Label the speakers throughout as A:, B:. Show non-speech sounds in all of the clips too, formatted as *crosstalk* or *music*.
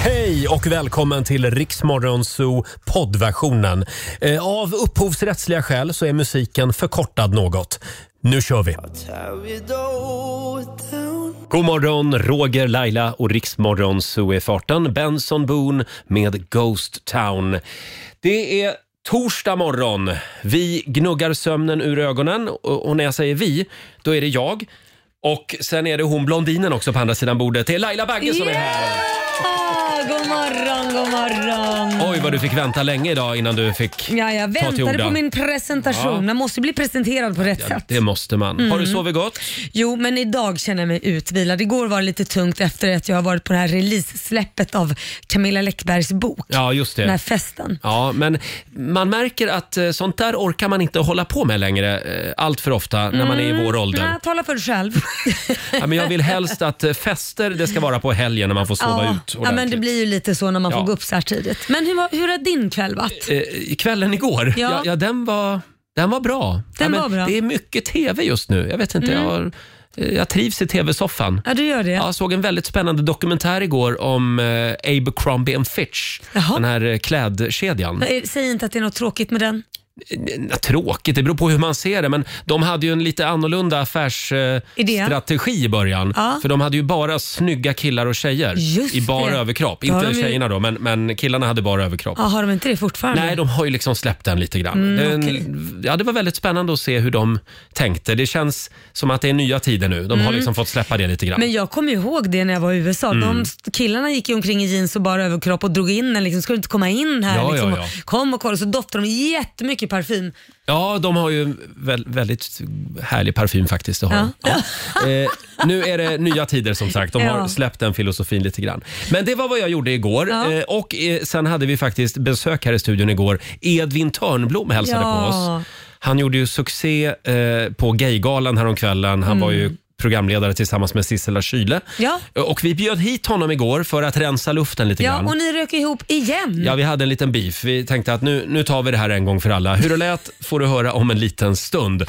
A: Hej och välkommen till Riksmorgonzoo poddversionen. Eh, Av upphovsrättsliga skäl så är musiken förkortad något. Nu kör vi! God morgon, Roger, Laila och Riksmorgonzoo är i farten. Benson Boone med Ghost Town. Det är torsdag morgon. Vi gnuggar sömnen ur ögonen och och när jag säger vi, då är det jag. Och sen är det hon blondinen också på andra sidan bordet. Det är Laila Bagge som är här.
B: Ah, god morgon, god morgon.
A: Oj, vad du fick vänta länge idag innan du fick
B: Ja, jag
A: ta till
B: väntade
A: orda.
B: på min presentation.
A: Ja.
B: Man måste bli presenterad på rätt sätt.
A: Det måste man. Har
B: Mm.
A: du sovit gott?
B: Jo, men idag känner jag mig utvilad. Igår var det lite tungt efter att jag har varit på det här release-släppet av Camilla Läckbergs bok.
A: Ja, just
B: Den här
A: det.
B: festen.
A: Ja, men man märker att eh, sånt där orkar man inte hålla på med längre eh, allt för ofta när man är i
B: Mm.
A: vår ålder.
B: Nej, tala för
A: *laughs*
B: dig själv.
A: Ja, men jag vill helst att eh, fester det ska vara på helgen när man får sova
B: ja.
A: ut
B: ja, men det
A: ordentligt.
B: blir ju lite så när man
A: Ja.
B: får gå upp så här tidigt. Men hur, hur har din kväll varit?
A: Eh, Kvällen igår, ja.
B: Ja.
A: Ja, den var, den var bra. ja,
B: Den
A: men
B: var bra. Mm.
A: Det är mycket tv just nu. Jag vet inte, jag, har, eh, jag trivs i tv-soffan.
B: Ja, du gör det?
A: Jag såg en väldigt spännande dokumentär igår om eh, Abercrombie and Fitch.
B: Jaha.
A: Den här eh, klädkedjan.
B: Eh, Säg inte att det är något tråkigt med den.
A: Eh, Tråkigt, det beror på hur man ser det. Men de hade ju en lite annorlunda affärsstrategi
B: Idé.
A: eh, strategi i början.
B: Ja.
A: För de hade ju bara snygga killar och tjejer
B: Just
A: i bar
B: det.
A: överkropp.
B: Då har
A: Inte
B: de ju-
A: tjejerna då, men, men killarna hade bara överkropp.
B: Ja, Mm, har de inte det fortfarande?
A: Nej, de har ju liksom släppt den lite grann. den, ja, det var väldigt spännande att se hur de tänkte. Det känns som att det är nya tider nu. De har liksom fått släppa det lite grann.
B: Mm. Men jag kommer ju ihåg det när jag var i USA.
C: Mm.
B: De killarna gick ju omkring i jeans och bara överkropp och drog in den. Liksom, ska du inte komma in här?
A: Ja, ja,
B: liksom.
A: ja.
B: Och Kom och kolla. Så doftade de jättemycket parfym.
A: Ja, de har ju väl, väldigt härlig parfym faktiskt. Det har de. Ja.
B: *laughs*
A: Eh, nu är det nya tider som sagt. De har
B: Ja.
A: släppt den filosofin lite grann. Men det var vad jag gjorde igår.
B: Ja.
A: Eh, och eh, sen hade vi faktiskt besök här i studion igår. Edvin Törnblom hälsade
B: Ja.
A: på oss. Han gjorde ju succé eh, på Gaygalan häromkvällen. Han var ju programledare tillsammans med Sissela Kyle.
B: Mm. Ja.
A: Eh, Och vi bjöd hit honom igår för att rensa luften lite grann.
B: Ja, och ni rök ihop igen.
A: Ja, vi hade en liten beef. Vi tänkte att nu, nu tar vi det här en gång för alla. Hur det lät får du höra om en liten stund.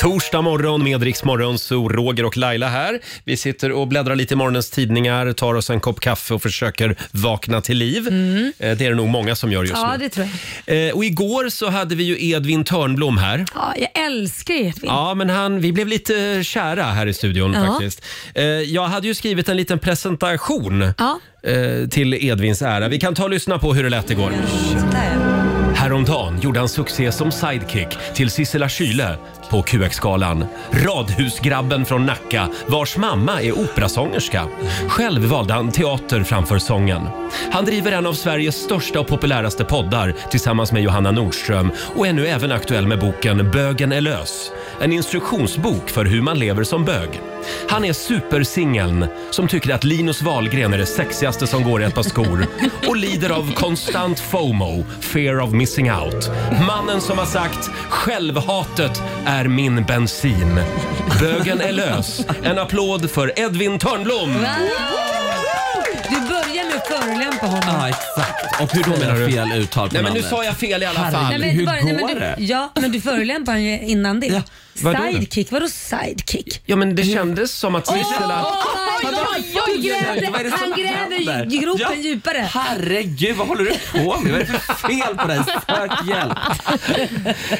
A: Torsdag morgon med Rix Morgon, så Roger och Laila här. Vi sitter och bläddrar lite i morgonens tidningar, tar oss en kopp kaffe och försöker vakna till liv. Eh, Det är det nog många som gör just
B: Mm. Ja,
A: nu.
B: det tror jag.
A: Eh, Och igår så hade vi ju Edvin Törnblom här.
B: Ja, jag älskar Edvin.
A: Ja, men han, vi blev lite kära här i studion
B: Ja.
A: faktiskt. Eh, jag hade ju skrivit en liten presentation
B: Ja.
A: eh, till Edvins ära. Vi kan ta och lyssna på hur det lät igår. Häromdagen gjorde han succé som sidekick till Sissela Kyle på QX-galan. Radhusgrabben från Nacka vars mamma är operasångerska. Själv valde han teater framför sången. Han driver en av Sveriges största och populäraste poddar tillsammans med Johanna Nordström och är nu även aktuell med boken Bögen är lös. En instruktionsbok för hur man lever som bög. Han är supersingeln som tycker att Linus Wahlgren är det sexigaste som går i ett par skor och lider av konstant FOMO, fear of missing out. Mannen som har sagt “Självhatet är min bensin”. Bögen är lös. En applåd för Edvin Törnblom!
B: Du börjar med att förolämpa honom.
C: Ja, exakt. Ah, Och
A: Hur då menar du?
C: Fel uttal på
A: Nej men nu
C: namnet.
A: sa jag fel i alla
C: Herregud.
A: fall.
C: hur
B: bara-
C: går
B: men
C: det?
B: du, ja, men du förolämpar honom ju innan det.
C: Ja,
A: vadå?
B: sidekick, vadå sidekick?
A: Ja men det kändes som att Sissela...
B: my God, du grävde,
C: Vad är det som
B: han gräver
C: händer?
B: ju gropen
C: Ja.
B: djupare.
C: Herregud, vad håller du på med? Vad är det för fel på dig? Sök hjälp.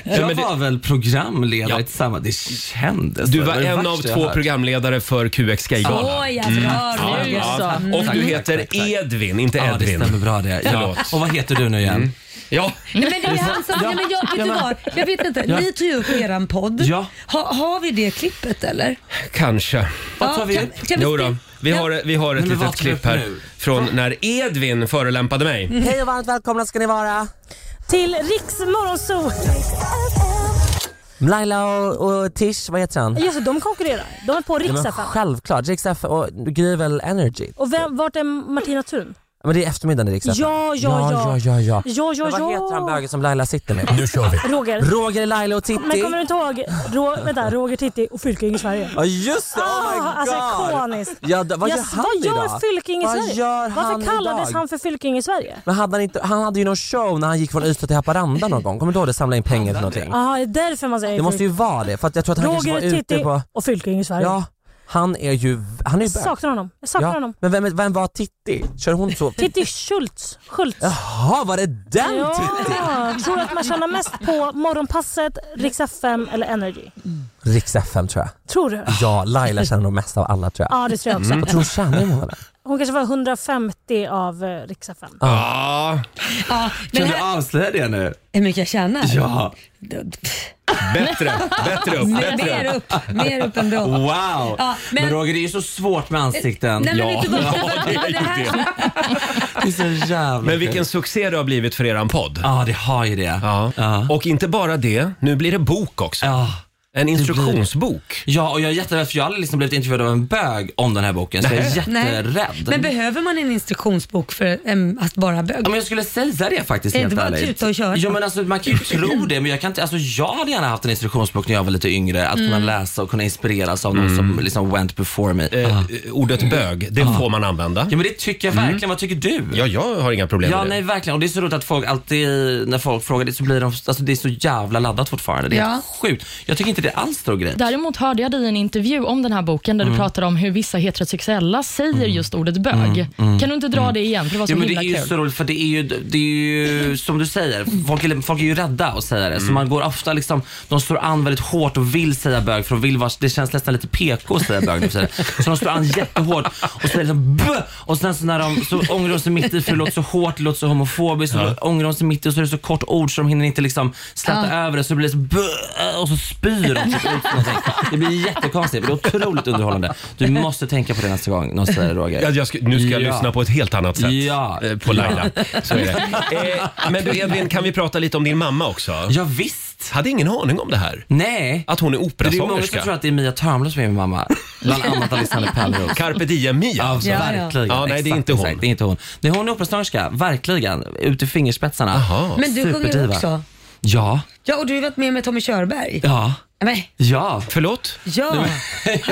C: Jag
A: men det-
C: var väl programledare
A: Ja.
C: tillsammans. Det kändes
A: Du
C: det
A: var
C: det
A: en
C: värsta
A: av
C: jag
A: två
C: hört.
A: programledare för QX Gaygalan.
B: Åh, ja, bra.
A: Ja,
B: nu alltså.
A: ja.
B: så.
A: Och du
C: Mm.
A: heter
C: Tack, tack, tack.
A: Edvin, inte
C: Ja, det
A: Edvin.
C: stämmer bra det. Ja.
A: Förlåt. Mm.
C: Och vad heter du nu igen?
A: Ja,
B: Nej, men det är han som, nej, men jag, vet du vad? Jag vet inte, ni tog ju upp eran podd.
C: Ja.
B: Ha, har vi det klippet eller?
A: kanske.
C: Vad tar vi
B: kan,
C: upp?
B: kan vi
A: Jo då,
B: spe-
A: vi,
B: Ja.
A: har, vi har ett
C: men vad
A: litet
C: tar vi
A: klipp
C: upp
A: här
C: nu?
A: från när Edvin förolämpade mig.
D: Hej och varmt välkomna ska ni vara till Riks Morgonzoo.
E: Laila och, och Tish, vad heter han?
D: Just det, de konkurrerar. De är på
E: Ja,
D: Riks
E: men
D: FM.
E: självklart, Rix F och Gry är väl Energy?
D: Och vem, vart är Martina Thun?
E: Men det är eftermiddagen i Rix FM.
D: Ja, ja, ja.
E: ja, ja, ja.
D: Ja, ja,
E: Men vad
D: ja.
E: heter han bögen som Laila sitter med? Nu kör vi.
D: Roger.
E: Roger, Laila och Titti.
D: Men kommer du inte ihåg? Rå, vänta, Roger Titti och Fylking i Sverige.
E: Ja just det, oh my
D: Ah,
E: god.
D: alltså ikoniskt.
E: Ja, d- vad gör
D: Jag-
E: han
D: vad gör
E: idag?
D: Fylking i
E: Vad
D: Sverige?
E: gör han
D: Varför kallades
E: idag?
D: han för Fylking i Sverige?
E: Men hade han, inte, han hade ju någon show när han gick från Ystad till Haparanda någon gång. Kommer du ihåg det? Samla in pengar till någonting.
D: Jaha, det är därför man säger
E: Det måste ju
D: Fylking.
E: vara det för att jag tror att han kanske
D: Roger
E: var ute
D: Titti
E: på...
D: och Fylking i Sverige.
E: Ja. Han är ju, han är ju
D: Jag
E: bög.
D: saknar honom. Jag saknar honom.
E: Men vem, vem var Titti? Kör hon så?
D: Titti Schultz. Schultz.
E: Jaha, var det den *laughs* Titti?
D: Ja, tror du att man tjänar mest på Morgonpasset, Rix FM eller Energy?
E: Rix FM tror jag.
D: Tror du?
E: Ja, Mm. Laila känner nog mest av alla tror jag.
D: Ja, det tror jag också.
E: Jag tror hon tjänar i månaden.
D: Hon kanske var 150 av eh, Rix FM.
A: Ja,
B: Ja, men
C: Kan du
B: här,
C: avslöja det nu?
B: hur mycket jag tjänar?
C: Ja.
A: bättre, bättre upp,
B: Mer,
A: bättre upp.
B: mer upp, mer upp ändå.
C: Wow!
B: Ja, men-
C: men... Roger, det är ju så svårt med ansikten.
B: Nej, men
A: Ja,
B: vet du vad?
A: ja, det är
B: det
A: ju
B: här,
A: det.
C: Det är så jävla
A: Men
C: kul.
A: vilken succé det har blivit för eran podd.
C: Ja, det har ju det.
A: Ja.
C: Ja.
A: Och inte bara det, nu blir det bok också.
C: Ja.
A: En instruktionsbok.
C: Ja, och jag är jätterädd för jag har aldrig liksom blivit intervjuad av en bög om den här boken, så jag är
B: Nej.
C: jätterädd.
B: Men behöver man en instruktionsbok för em, att bara bög?
C: Ja, men jag skulle säga det faktiskt
B: Är det
C: helt
B: bara att
C: ärligt.
B: tuta och köra?
C: Ja, men alltså, man kan ju tro det men jag, kan inte, alltså, jag hade gärna haft en instruktionsbok när jag var lite yngre. Att
B: Mm.
C: kunna läsa och kunna inspireras av
A: Mm.
C: någon som liksom went before me.
A: Eh, Ordet bög, det får man använda.
C: Ja men det tycker jag verkligen. Vad tycker du?
A: Ja, jag har inga problem
C: Mm. Ja,
A: med det.
C: nej verkligen. Och det är så roligt att folk alltid, när folk frågar det så blir de, alltså det är så jävla laddat fortfarande. Det är
F: Ja.
C: helt sjukt. Jag tycker inte det är alls stor grej.
F: Däremot hörde jag dig i en intervju om den här boken där
A: Mm.
F: du pratade om hur vissa heterosexuella säger just ordet bög.
A: Mm.
F: Kan du inte dra det igen? För det var så
C: Ja, men det
F: himla
C: är ju
F: kul.
C: så roligt för det är ju, det är ju som du säger, folk är, folk är ju rädda att säga det.
A: Mm.
C: Så man går ofta liksom, de slår an väldigt hårt och vill säga bög för de vill vara, det känns nästan lite PK att säga bög nu för tiden. Så de slår an jättehårt och säger liksom bö! Och sen så, när de, så ångrar de sig mitt i för det låter så hårt, det låter så homofobiskt. Så ångrar de sig mitt i och så är det så kort ord så de hinner inte liksom släta över det. Så det blir det så bö! Och så spyr de. typ ut någonting. Det blir jättekonstigt men det är otroligt underhållande. Du måste tänka på det nästa gång någon säger det, Roger.
A: Ja, jag ska, nu ska jag
C: Ja.
A: lyssna på ett helt annat sätt
C: Ja.
A: eh, på Laila. Så är
C: *laughs*
A: det. Eh, men du Edvin, kan vi prata lite om din mamma också?
C: Ja, visst.
A: Hade ingen aning om det här.
C: Nej.
A: Att hon
C: Det
A: är
C: är ju många som
A: operasångerska.
C: tror att det är Mia Törnblom som är min mamma. *laughs* Bland annat Alexander Pärleros.
A: Carpe diem-Mia.
C: Ja,
B: Ja, ja.
C: verkligen.
A: Ja, nej, det är
C: Exakt,
A: inte hon.
C: Exakt, det är inte hon. Nej, hon är operasångerska, verkligen. Ut i fingerspetsarna.
A: Jaha.
B: Men du sjunger
C: Superdiva.
B: också?
C: Ja,
B: Ja, och du har varit med med Tommy Körberg.
C: ja,
B: Nej,
C: ja.
A: Förlåt?
B: ja. Han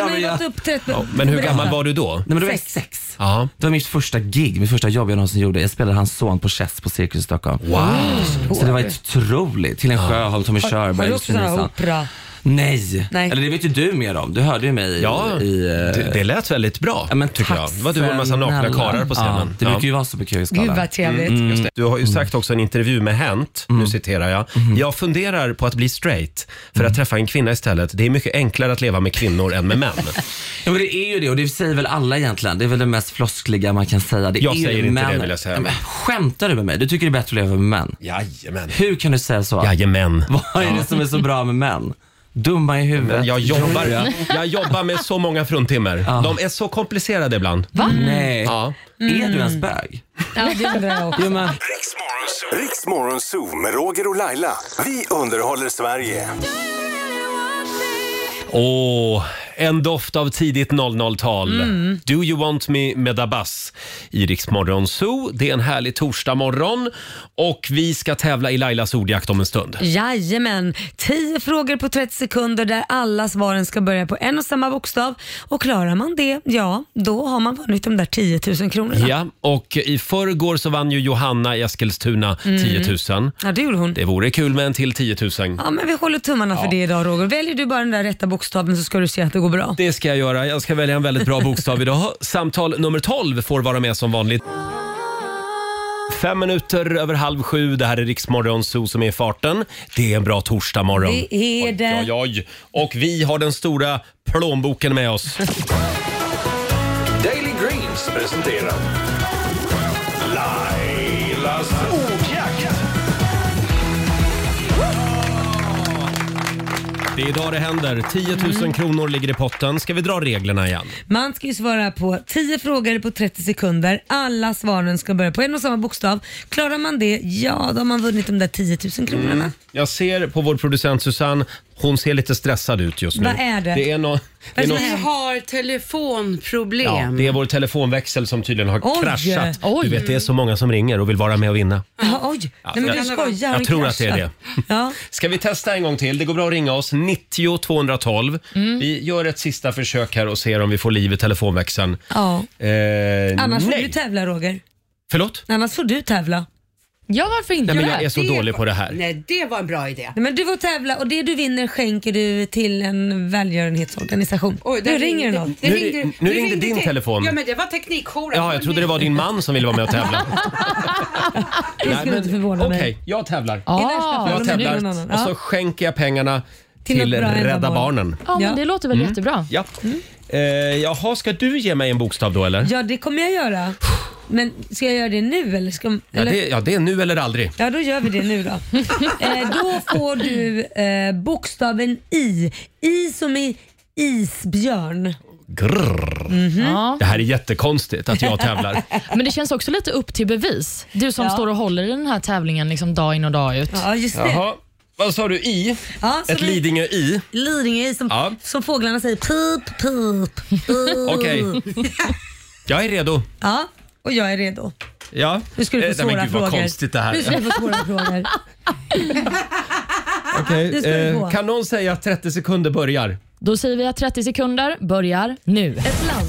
B: har
C: men
B: ju
C: jag-
B: gått upp till ett...
A: Men hur gammal var du då?
C: Nej, men det var
B: Sex.
C: sex.
A: Ja.
C: Det var mitt första gig, mitt första jobb jag någonsin gjorde. Jag spelade hans son på Chess på Cirkus i Stockholm.
A: Wow!
C: Så det var otroligt. Till en Sjöholm, Tommy
B: Har
C: Körberg,
B: du också sån här
C: Nissan.
B: opera?
C: Nej.
B: Nej.
C: Eller det vet ju du mer om. Du hörde ju mig i-
A: Ja,
C: i... eh,
A: det, det lät väldigt bra.
C: Ja, men
A: tycker
C: tack
A: jag. Det var du och en massa nakna
C: snälla.
A: karlar
C: Ja,
A: på scenen.
C: det
A: Ja.
C: brukar ju vara så på Kyrkoskalan.
B: Gud vad trevligt.
A: Just det. Du har
C: Mm.
A: ju sagt också i en intervju med Hänt, nu citerar jag. Jag funderar på att bli straight för
C: Mm.
A: att träffa en kvinna istället. Det är mycket enklare att leva med kvinnor än
C: *laughs*
A: med män.
C: Ja, men det är ju det och det säger väl alla egentligen. Det är väl det mest floskliga man kan säga. Det
A: Jag
C: är ju
A: säger inte
C: män.
A: det, vill jag säga.
C: Ja, men skämtar du med mig? Du tycker det är bättre att leva med män?
A: Jajamän.
C: Hur kan du säga så?
A: Jajamän.
C: Vad är det som är så bra med män? Dumma i huvudet.
A: Jag jobbar,
C: Jobbiga.
A: jag jobbar med så många fruntimmer. De är så komplicerade ibland.
C: Nej.
A: Ja.
C: Är du ens bög?
B: Ja, det undrar jag också.
C: Ja, men,
G: Riksmorgon Zoo med Roger och Laila. Vi underhåller Sverige.
A: Åh, en doft av tidigt 00-tal. Do you want me med Abbas i Rix Morgon Zoo. Det är en härlig torsdagmorgon och vi ska tävla i Lailas ordjakt om en stund.
B: Jajamän, 10 frågor på 30 sekunder där alla svaren ska börja på en och samma bokstav. Och klarar man det, ja då har man vunnit de där 10 000 kronorna.
A: Ja, och i förrgår så vann ju Johanna i Eskilstuna 10 000.
B: Ja, det gjorde hon.
A: Det vore kul med en till 10 000.
B: Ja, men vi håller tummarna för det idag Roger. Väljer du bara den där rätta bokstaven så ska du se att det går bra.
A: Det ska jag göra. Jag ska välja en väldigt bra bokstav idag. Samtal nummer 12 får vara med som vanligt. Fem minuter över halv sju. Det här är Riksmorgon Zoo som är i farten. Det är en bra torsdagmorgon.
B: Det är det.
A: Oj, oj, oj. Och vi har den stora plånboken med oss.
G: Daily Greens presenterar Lailas ordjakt.
A: Det är idag det händer. 10 000
B: Mm.
A: kronor ligger i potten. Ska vi dra reglerna igen?
B: Man ska ju svara på 10 frågor på 30 sekunder. Alla svaren ska börja på en och samma bokstav. Klarar man det, ja då har man vunnit de där 10 000 kronorna.
A: Jag ser på vår producent Susanne, hon ser lite stressad ut just nu.
B: Vad är det?
A: Det är, nå- det är, nå-
H: Vi har telefonproblem.
A: ja, det är vår telefonväxel som tydligen har
B: Oj.
A: kraschat.
F: Oj.
A: Du vet, det är så många som ringer och vill vara med och vinna.
B: Ja, oj, Nej, men du
A: jag-
B: skojar.
A: jag
B: Den
A: tror att det är
B: kraschar. Ja.
A: Ska vi testa en gång till? Det går bra att ringa oss, 90 212.
B: Mm.
A: Vi gör ett sista försök här och ser om vi får liv i telefonväxeln.
B: ja.
A: Eh,
B: Annars får
A: nej.
B: du tävla Roger.
A: Förlåt?
B: Annars får du tävla.
F: Ja, varför inte?
A: Nej, men jag är så
H: Det-
A: dålig på det här.
H: Nej, det var en bra idé.
B: Nej, men du får tävla och det du vinner skänker du till en välgörenhetsorganisation. nu ringer det någon.
H: det
A: Nu
H: ringde-
A: ri- nu ringde din
H: te-
A: telefon.
H: Ja, men det var teknikjouren.
A: Ja, jag trodde det var din man som ville vara med och
B: *laughs*
A: tävla.
B: Det skulle inte förvåna
A: Okej,
B: mig.
A: jag tävlar.
F: Ja,
B: I värsta fall
A: Jag
B: om det blir någon
A: tävlar
B: annan.
A: och så
B: Ja.
A: skänker jag pengarna till,
B: Till något bra
A: Rädda
B: ändamål. Mm.
A: Barnen.
F: ja,
B: Ja.
F: men det låter
A: Mm.
F: väl jättebra.
A: Ja. Eh, jaha, ska du ge mig en bokstav då eller?
B: Ja, det kommer jag göra. Men ska jag göra det nu eller? Ska,
A: Ja,
B: eller?
A: det, ja, det är nu eller aldrig.
B: Ja, då gör vi
A: *laughs*
B: det nu då. eh, då får du eh, bokstaven I. I som i isbjörn.
A: Grrr.
F: Ja.
A: Det här är jättekonstigt att jag
B: *laughs*
A: tävlar.
F: Men det känns också lite upp till bevis. Du som
B: Ja.
F: står och håller i den här tävlingen liksom dag in och dag ut.
B: Ja, just det.
A: Jaha, vad sa du? I?
B: Ja, så
A: Ett
B: det-
A: Lidingö-i?
B: Lidingö i som,
A: Ja.
B: som fåglarna säger pip, pip, pip.
A: Okej. Jag är redo.
B: Ja, och jag är redo.
A: Ja.
B: Nu ska du
A: Eh,
B: få
A: nej,
B: svåra
A: men gud,
B: frågor.
A: vad konstigt det
B: Nu
A: här
B: ska
A: är.
B: du få svåra *laughs* frågor.
A: Okej,
B: Ah, nu ska du
A: eh,
B: få.
A: kan någon säga att 30 sekunder börjar?
F: Då säger vi att 30 sekunder börjar nu.
B: Ett land,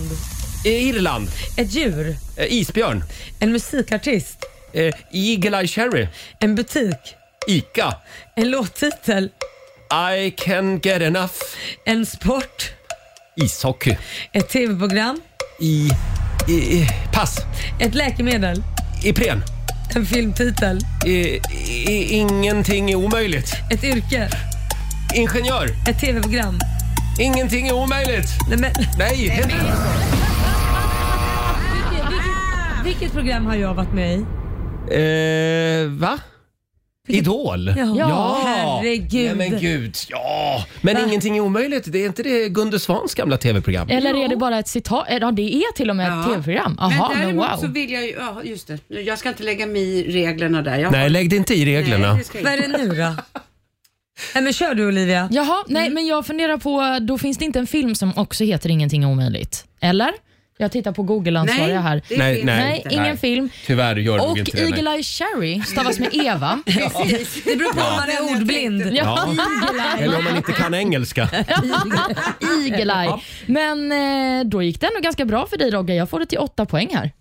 A: Eh, Irland.
B: ett djur,
A: Eh, isbjörn.
B: en musikartist,
A: Eh, Eagle Eye Cherry.
B: en butik,
A: Ica.
B: en låttitel,
A: I can get enough.
B: en sport,
A: Ishockey.
B: ett tv-program,
A: I... i, i pass.
B: ett läkemedel,
A: Ipren.
B: en filmtitel,
A: I, i, ingenting är omöjligt.
B: ett yrke,
A: Ingenjör.
B: ett tv-program.
A: Ingenting är omöjligt.
B: Nej, men, *laughs*
A: Nej, det-
B: vilket, vilket, vilket program har jag varit med i?
A: Eh, va? Idol?
B: Ja.
A: Nej,
B: Herregud.
A: men gud, ja. Men
B: Va?
A: ingenting är omöjligt. Det är inte det Gunde Svans gamla tv-program?
F: Eller är det bara ett citat? Ja, det är till och med ett tv-program. Aha,
H: men
F: men,
H: däremot så
F: wow.
H: vill jag ju, ja just det, jag ska inte lägga mig i reglerna där. Jag,
A: Nej, lägg dig inte i reglerna.
H: Nej, det ska jag
B: Vad är
H: inte.
B: det nu då? Nej, men kör du Olivia.
F: Jaha,
A: Mm.
F: nej, men jag funderar på, då finns det inte en film som också heter Ingenting är omöjligt? Eller? Jag tittar på Google-ansvariga här.
H: det
A: Nej,
H: vet
A: nej.
H: jag
F: Nej,
H: inte.
F: ingen
A: Nej.
F: film.
A: Tyvärr gör nog
F: Och
A: inte det. nej.
F: Eagle Eye Cherry stavas med
A: *laughs*
F: Eva.
B: Det beror på om man är ordblind.
A: Ja. Eller om man inte kan engelska.
F: *laughs* Eagle Eye. Men eh, då gick det ändå ganska bra för dig Rogge. Jag får det till åtta poäng här.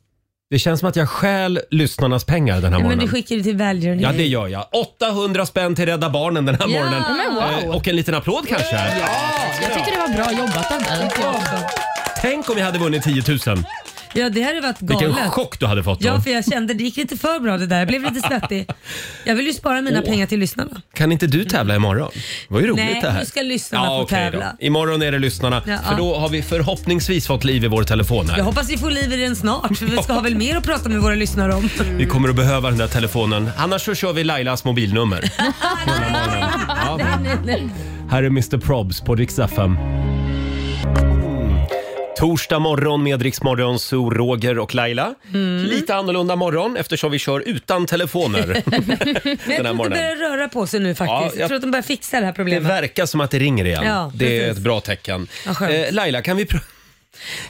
A: Det känns som att jag stjäl lyssnarnas pengar den här
B: Men du
A: morgonen.
B: skickar ju till välgörenhet.
A: Ja, det gör jag. 800 spänn till Rädda Barnen den här
F: Ja.
A: morgonen.
F: Men wow.
A: Eh, Och en liten applåd kanske.
F: Jag tycker det var bra jobbat av dig.
A: Tänk om jag hade vunnit 10 000.
B: Ja, det hade varit galet.
A: Vilken chock du hade fått då.
B: Ja, för jag kände det gick lite för bra det där. Jag blev lite svettig. Jag vill ju spara mina pengar till lyssnarna.
A: Kan inte du tävla imorgon? Det var ju roligt
B: Mm. Nej,
A: det här.
B: nu ska lyssnarna få
A: okej
B: tävla.
A: Då. Imorgon är det lyssnarna.
B: Ja.
A: För då har vi förhoppningsvis fått liv i vår telefon här.
B: Jag hoppas vi får liv i den snart, för vi ska ha väl mer att prata med våra lyssnare om.
A: Vi kommer att behöva den där telefonen. Annars så kör vi Lailas
B: *laughs*
A: mobilnummer. Hela morgonen. ja. Här är Mr Probs på Rix FM. Torsdag morgon med Rix Morgon, så Roger och Laila.
B: Mm.
A: Lite annorlunda morgon eftersom vi kör utan
B: *laughs*
A: telefoner.
B: Men
A: Den
B: jag
A: här
B: tror att det
A: morgonen.
B: börjar röra på sig nu faktiskt.
A: Ja,
B: jag...
A: jag-
B: tror att de börjar fixa det här
A: Det
B: problemet.
A: verkar som att det ringer igen.
B: Ja,
A: det är ett
B: precis.
A: bra tecken.
B: Ja, skönt.
A: Eh, Laila, kan vi,
B: *laughs*
A: pr-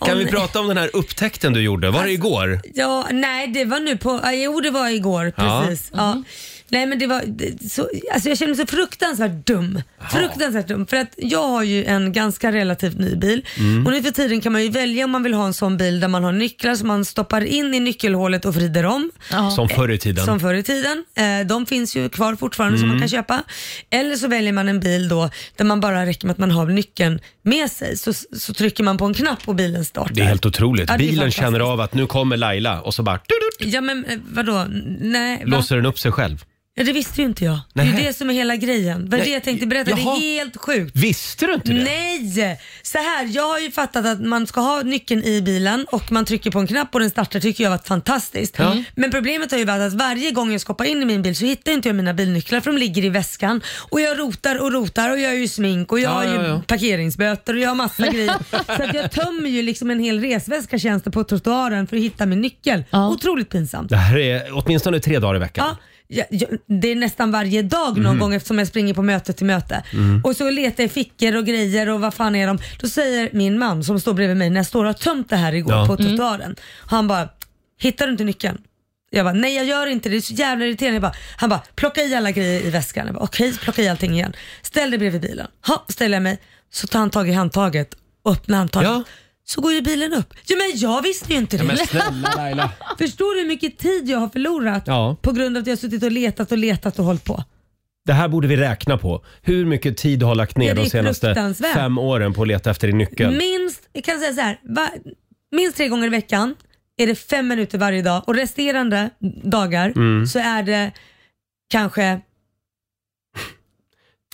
B: Åh,
A: kan vi
B: nej.
A: prata om den här upptäckten du gjorde? Var det
B: Alltså,
A: igår?
B: Ja, nej det var nu på, ja, jo det var igår
A: Ja. Mm.
B: precis. Ja. Nej men det var, det- så, alltså jag känner mig så fruktansvärt dum. Fruktansvärt dum. För att jag har ju en ganska relativt ny bil
A: Mm.
B: och nu för tiden kan man ju välja om man vill ha en sån bil där man har nycklar som man stoppar in i nyckelhålet och vrider om.
A: Som förr i tiden.
B: Som förr i tiden. Eh, de finns ju kvar fortfarande
A: Mm.
B: som man kan köpa. Eller så väljer man en bil då där man bara räcker med att man har nyckeln med sig. Så, så trycker man på en knapp och bilen startar.
A: Det är helt otroligt.
B: Ja, det är
A: Bilen
B: fantastiskt.
A: känner av att nu kommer Laila och så bara du-du,
B: Ja men eh, vadå? Nej, va?
A: låser den upp sig själv.
B: Ja, det visste ju inte jag. Det är ju
A: Nähä.
B: det som är hela grejen. Vad är det
A: Nej,
B: jag tänkte berätta?
A: jaha.
B: Det är helt sjukt.
A: Visste du inte det?
B: Nej! Så här, jag har ju fattat att man ska ha nyckeln i bilen och man trycker på en knapp och den startar tycker jag varit fantastiskt.
A: Ja.
B: Men problemet har ju varit att varje gång jag ska hoppa in i min bil så hittar inte jag mina bilnycklar för de ligger i väskan. Och jag rotar och rotar och jag är ju smink och jag
A: Ja,
B: har ju
A: ja, ja.
B: parkeringsböter och jag
A: *laughs*
B: har massa grejer. Så att jag tömmer ju liksom en hel resväska känns det på trottoaren för att hitta min nyckel.
F: Ja.
B: Otroligt pinsamt.
A: Det här är åtminstone tre dagar i veckan.
B: Ja, ja, ja, det är nästan varje dag
A: Mhm.
B: någon gång eftersom jag springer på möte till möte. Och så letar jag i fickor och grejer och vad fan är de? Då säger min man som står bredvid mig när jag står och har tömt det här igår
A: Ja. Mm.
B: på trottoaren. Han bara, hittar du inte nyckeln? Jag bara, nej jag gör inte det, det är så jävla irriterande. Jag bara, han bara, plocka i alla grejer i väskan. Jag bara, okej, plocka i allting igen. Ställ dig bredvid bilen. Ha, ställer jag mig. Så tar han tag i handtaget och öppnar handtaget.
A: Ja.
B: så går ju bilen upp. Ja, men jag visste ju inte det. *laughs*
A: Men snälla Laila.
B: Förstår du hur mycket tid jag har förlorat
A: Ja.
B: på grund av att jag har suttit och letat och letat och hållit på?
A: Det här borde vi räkna på. Hur mycket tid du har lagt ner
B: Ja, det är
A: de senaste
B: fruktansvärt.
A: fem åren på att leta efter din nyckel.
B: Minst, jag kan säga så här, va, minst tre gånger i veckan är det fem minuter varje dag och resterande dagar
A: Mm.
B: så är det kanske,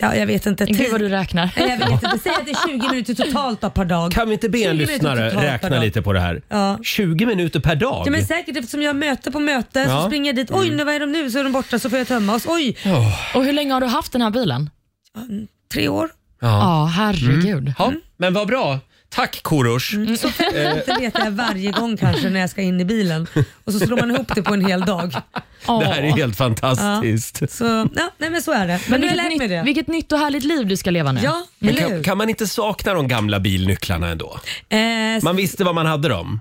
B: ja jag vet inte,
F: Gud vad du
B: tio-
F: räknar.
B: Nej, jag vet inte. Säg att det är 20 minuter totalt då per dag.
A: Kan vi inte be
B: 20
A: en
B: minuter
A: lyssnare
B: totalt per
A: räkna
B: dag.
A: lite på det här?
B: Ja.
A: 20 minuter per dag?
B: Ja, men säkert eftersom jag har möte på möte
A: Ja.
B: så springer jag dit. Oj, nu, vad är de nu? Så är de borta så får jag tömma oss. Oj,
F: Och hur länge har du haft den här bilen?
B: tre år.
A: Ja. Mm.
F: Ja, herregud.
B: Mm.
A: Ja, men vad bra. Tack Korosh.
F: Mm.
B: Så fem minuter letar jag varje gång kanske när jag ska in i bilen och så slår man ihop det på en hel dag.
F: Ja.
A: Det här är helt fantastiskt.
B: Så, ja, nej men så är det. Men,
F: Men
B: nu har jag
F: vilket,
B: lärt mig
F: nytt,
B: det.
F: vilket nytt och härligt liv du ska leva nu.
B: Ja,
A: Men
B: eller
A: kan,
B: hur?
A: kan man inte sakna de gamla bilnycklarna ändå?
B: Eh, s-
A: Man visste vad man hade dem.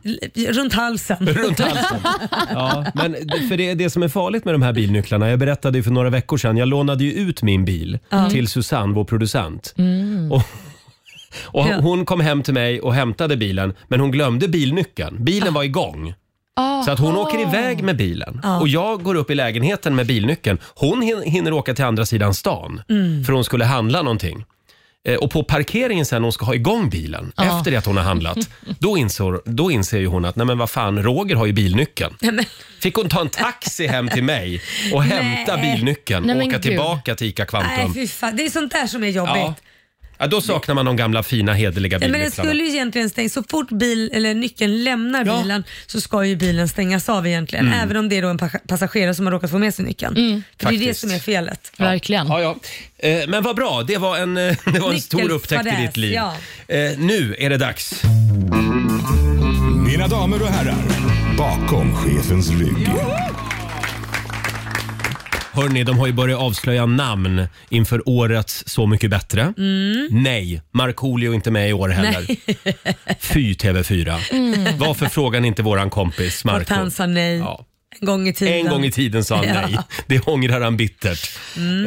B: Runt halsen.
A: Runt halsen. Ja, men det- för det, det som är farligt med de här bilnycklarna, jag berättade ju för några veckor sedan, jag lånade ju ut min bil till Susanne, vår producent. Och, och
B: Ja.
A: hon kom hem till mig och hämtade bilen, men hon glömde bilnyckeln. Bilen var igång. Så att hon åker iväg med bilen och jag går upp i lägenheten med bilnyckeln. Hon hin- hinner åka till andra sidan stan för hon skulle handla någonting. Eh, Och på parkeringen sen när hon ska ha igång bilen, efter det att hon har handlat, då inser, då inser ju hon att nej men vad fan, Roger har ju bilnyckeln. Fick hon ta en taxi hem till mig och hämta bilnyckeln
F: Nej,
A: och
F: men
A: åka
F: gud.
A: tillbaka till ICA
B: Nej
A: Kvantum.
B: fy fan, det är sånt där som är jobbigt.
A: Ja. Ja, då saknar man de gamla fina hederliga
B: Nej, men den
A: bilnycklarna.
B: skulle ju egentligen stängas. Så fort bil, eller nyckeln lämnar
A: Ja. Mm.
B: bilen så ska ju bilen stängas av egentligen. Även om det är då en pa- passagerare som har råkat få med sig nyckeln. För det är det
A: Faktiskt.
B: som är felet.
F: Verkligen.
A: Ja, ja. Eh, Men vad bra, det var en, eh, det var en stor upptäckt i
B: Nyckelfadäs,
A: ditt liv.
B: ja.
A: Eh, Nu är det dags.
I: Mina damer och herrar, bakom chefens rygg.
A: Hörni, de har ju börjat avslöja namn inför årets Så mycket bättre.
B: Mm.
A: Nej, Markoolio är inte med i år heller. Fy TV4.
B: Mm.
A: Varför frågar ni inte våran kompis
B: Att
A: Marco?
B: han sa nej
A: Ja.
B: en gång i tiden.
A: En gång i tiden sa han
B: Ja.
A: nej. Det ångrar han bittert.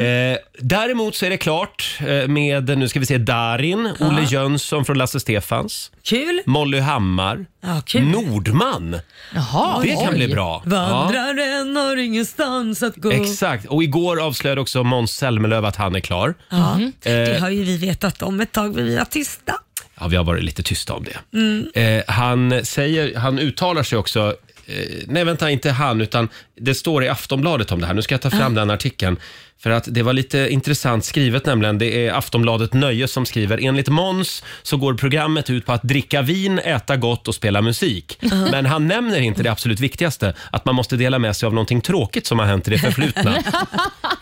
A: Eh, däremot så är det klart eh, med, nu ska vi se, Darin, Olle Jönsson från Lasse Stefans
B: Kul.
A: Molly Hammar,
B: Ja, kul.
A: Nordman.
F: Jaha,
A: Det kan
F: oj.
A: bli bra. Ja.
B: Vandraren har ingenstans att gå.
A: Exakt. Och igår avslöjade också Måns Zelmerlöw att han är klar.
B: Ja,
A: Mm-hmm. Eh.
B: Det har ju vi vetat om ett tag, men vi
A: *laughs*
B: var tysta.
A: Ja, vi har varit lite tysta om det. Eh, han, säger, han uttalar sig också eh, Nej, vänta, inte han, utan det står i Aftonbladet om det här. Nu ska jag ta fram den artikeln. För att det var lite intressant skrivet nämligen. Det är Aftonbladet Nöje som skriver. Enligt Måns så går programmet ut på att dricka vin, äta gott och spela musik. Men han nämner inte det absolut viktigaste, att man måste dela med sig av någonting tråkigt som har hänt i det förflutna.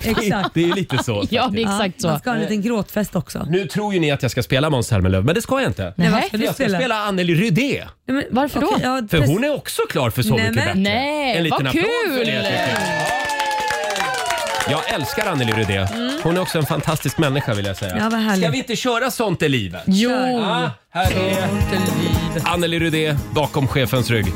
B: Exakt.
A: Det är ju lite så.
F: Ja, det
A: faktiskt.
F: är exakt
B: Man
F: så.
B: ska ha en liten gråtfest också.
A: Nu tror ju ni att jag ska spela Måns Zelmerlöw, men det ska jag inte.
B: Nej,
F: Nej.
B: varför du
A: Jag ska
B: spela?
A: spela Anneli Rydé.
B: Nej, men-
F: Varför då?
B: okej, ja,
A: För
B: precis.
A: hon är också klar för Så
B: Nej,
A: mycket
B: men-
A: bättre.
F: Nej,
A: en liten
F: vad
A: applåd för
F: kul!
A: det tycker jag. Jag älskar Anneli Rydé. Hon är också en fantastisk människa vill jag säga.
B: Mm. Ja, vad härligt.
A: Ska vi inte köra Sånt är livet?
F: Jo,
A: Ja, här är Anneli Rydé bakom chefens rygg.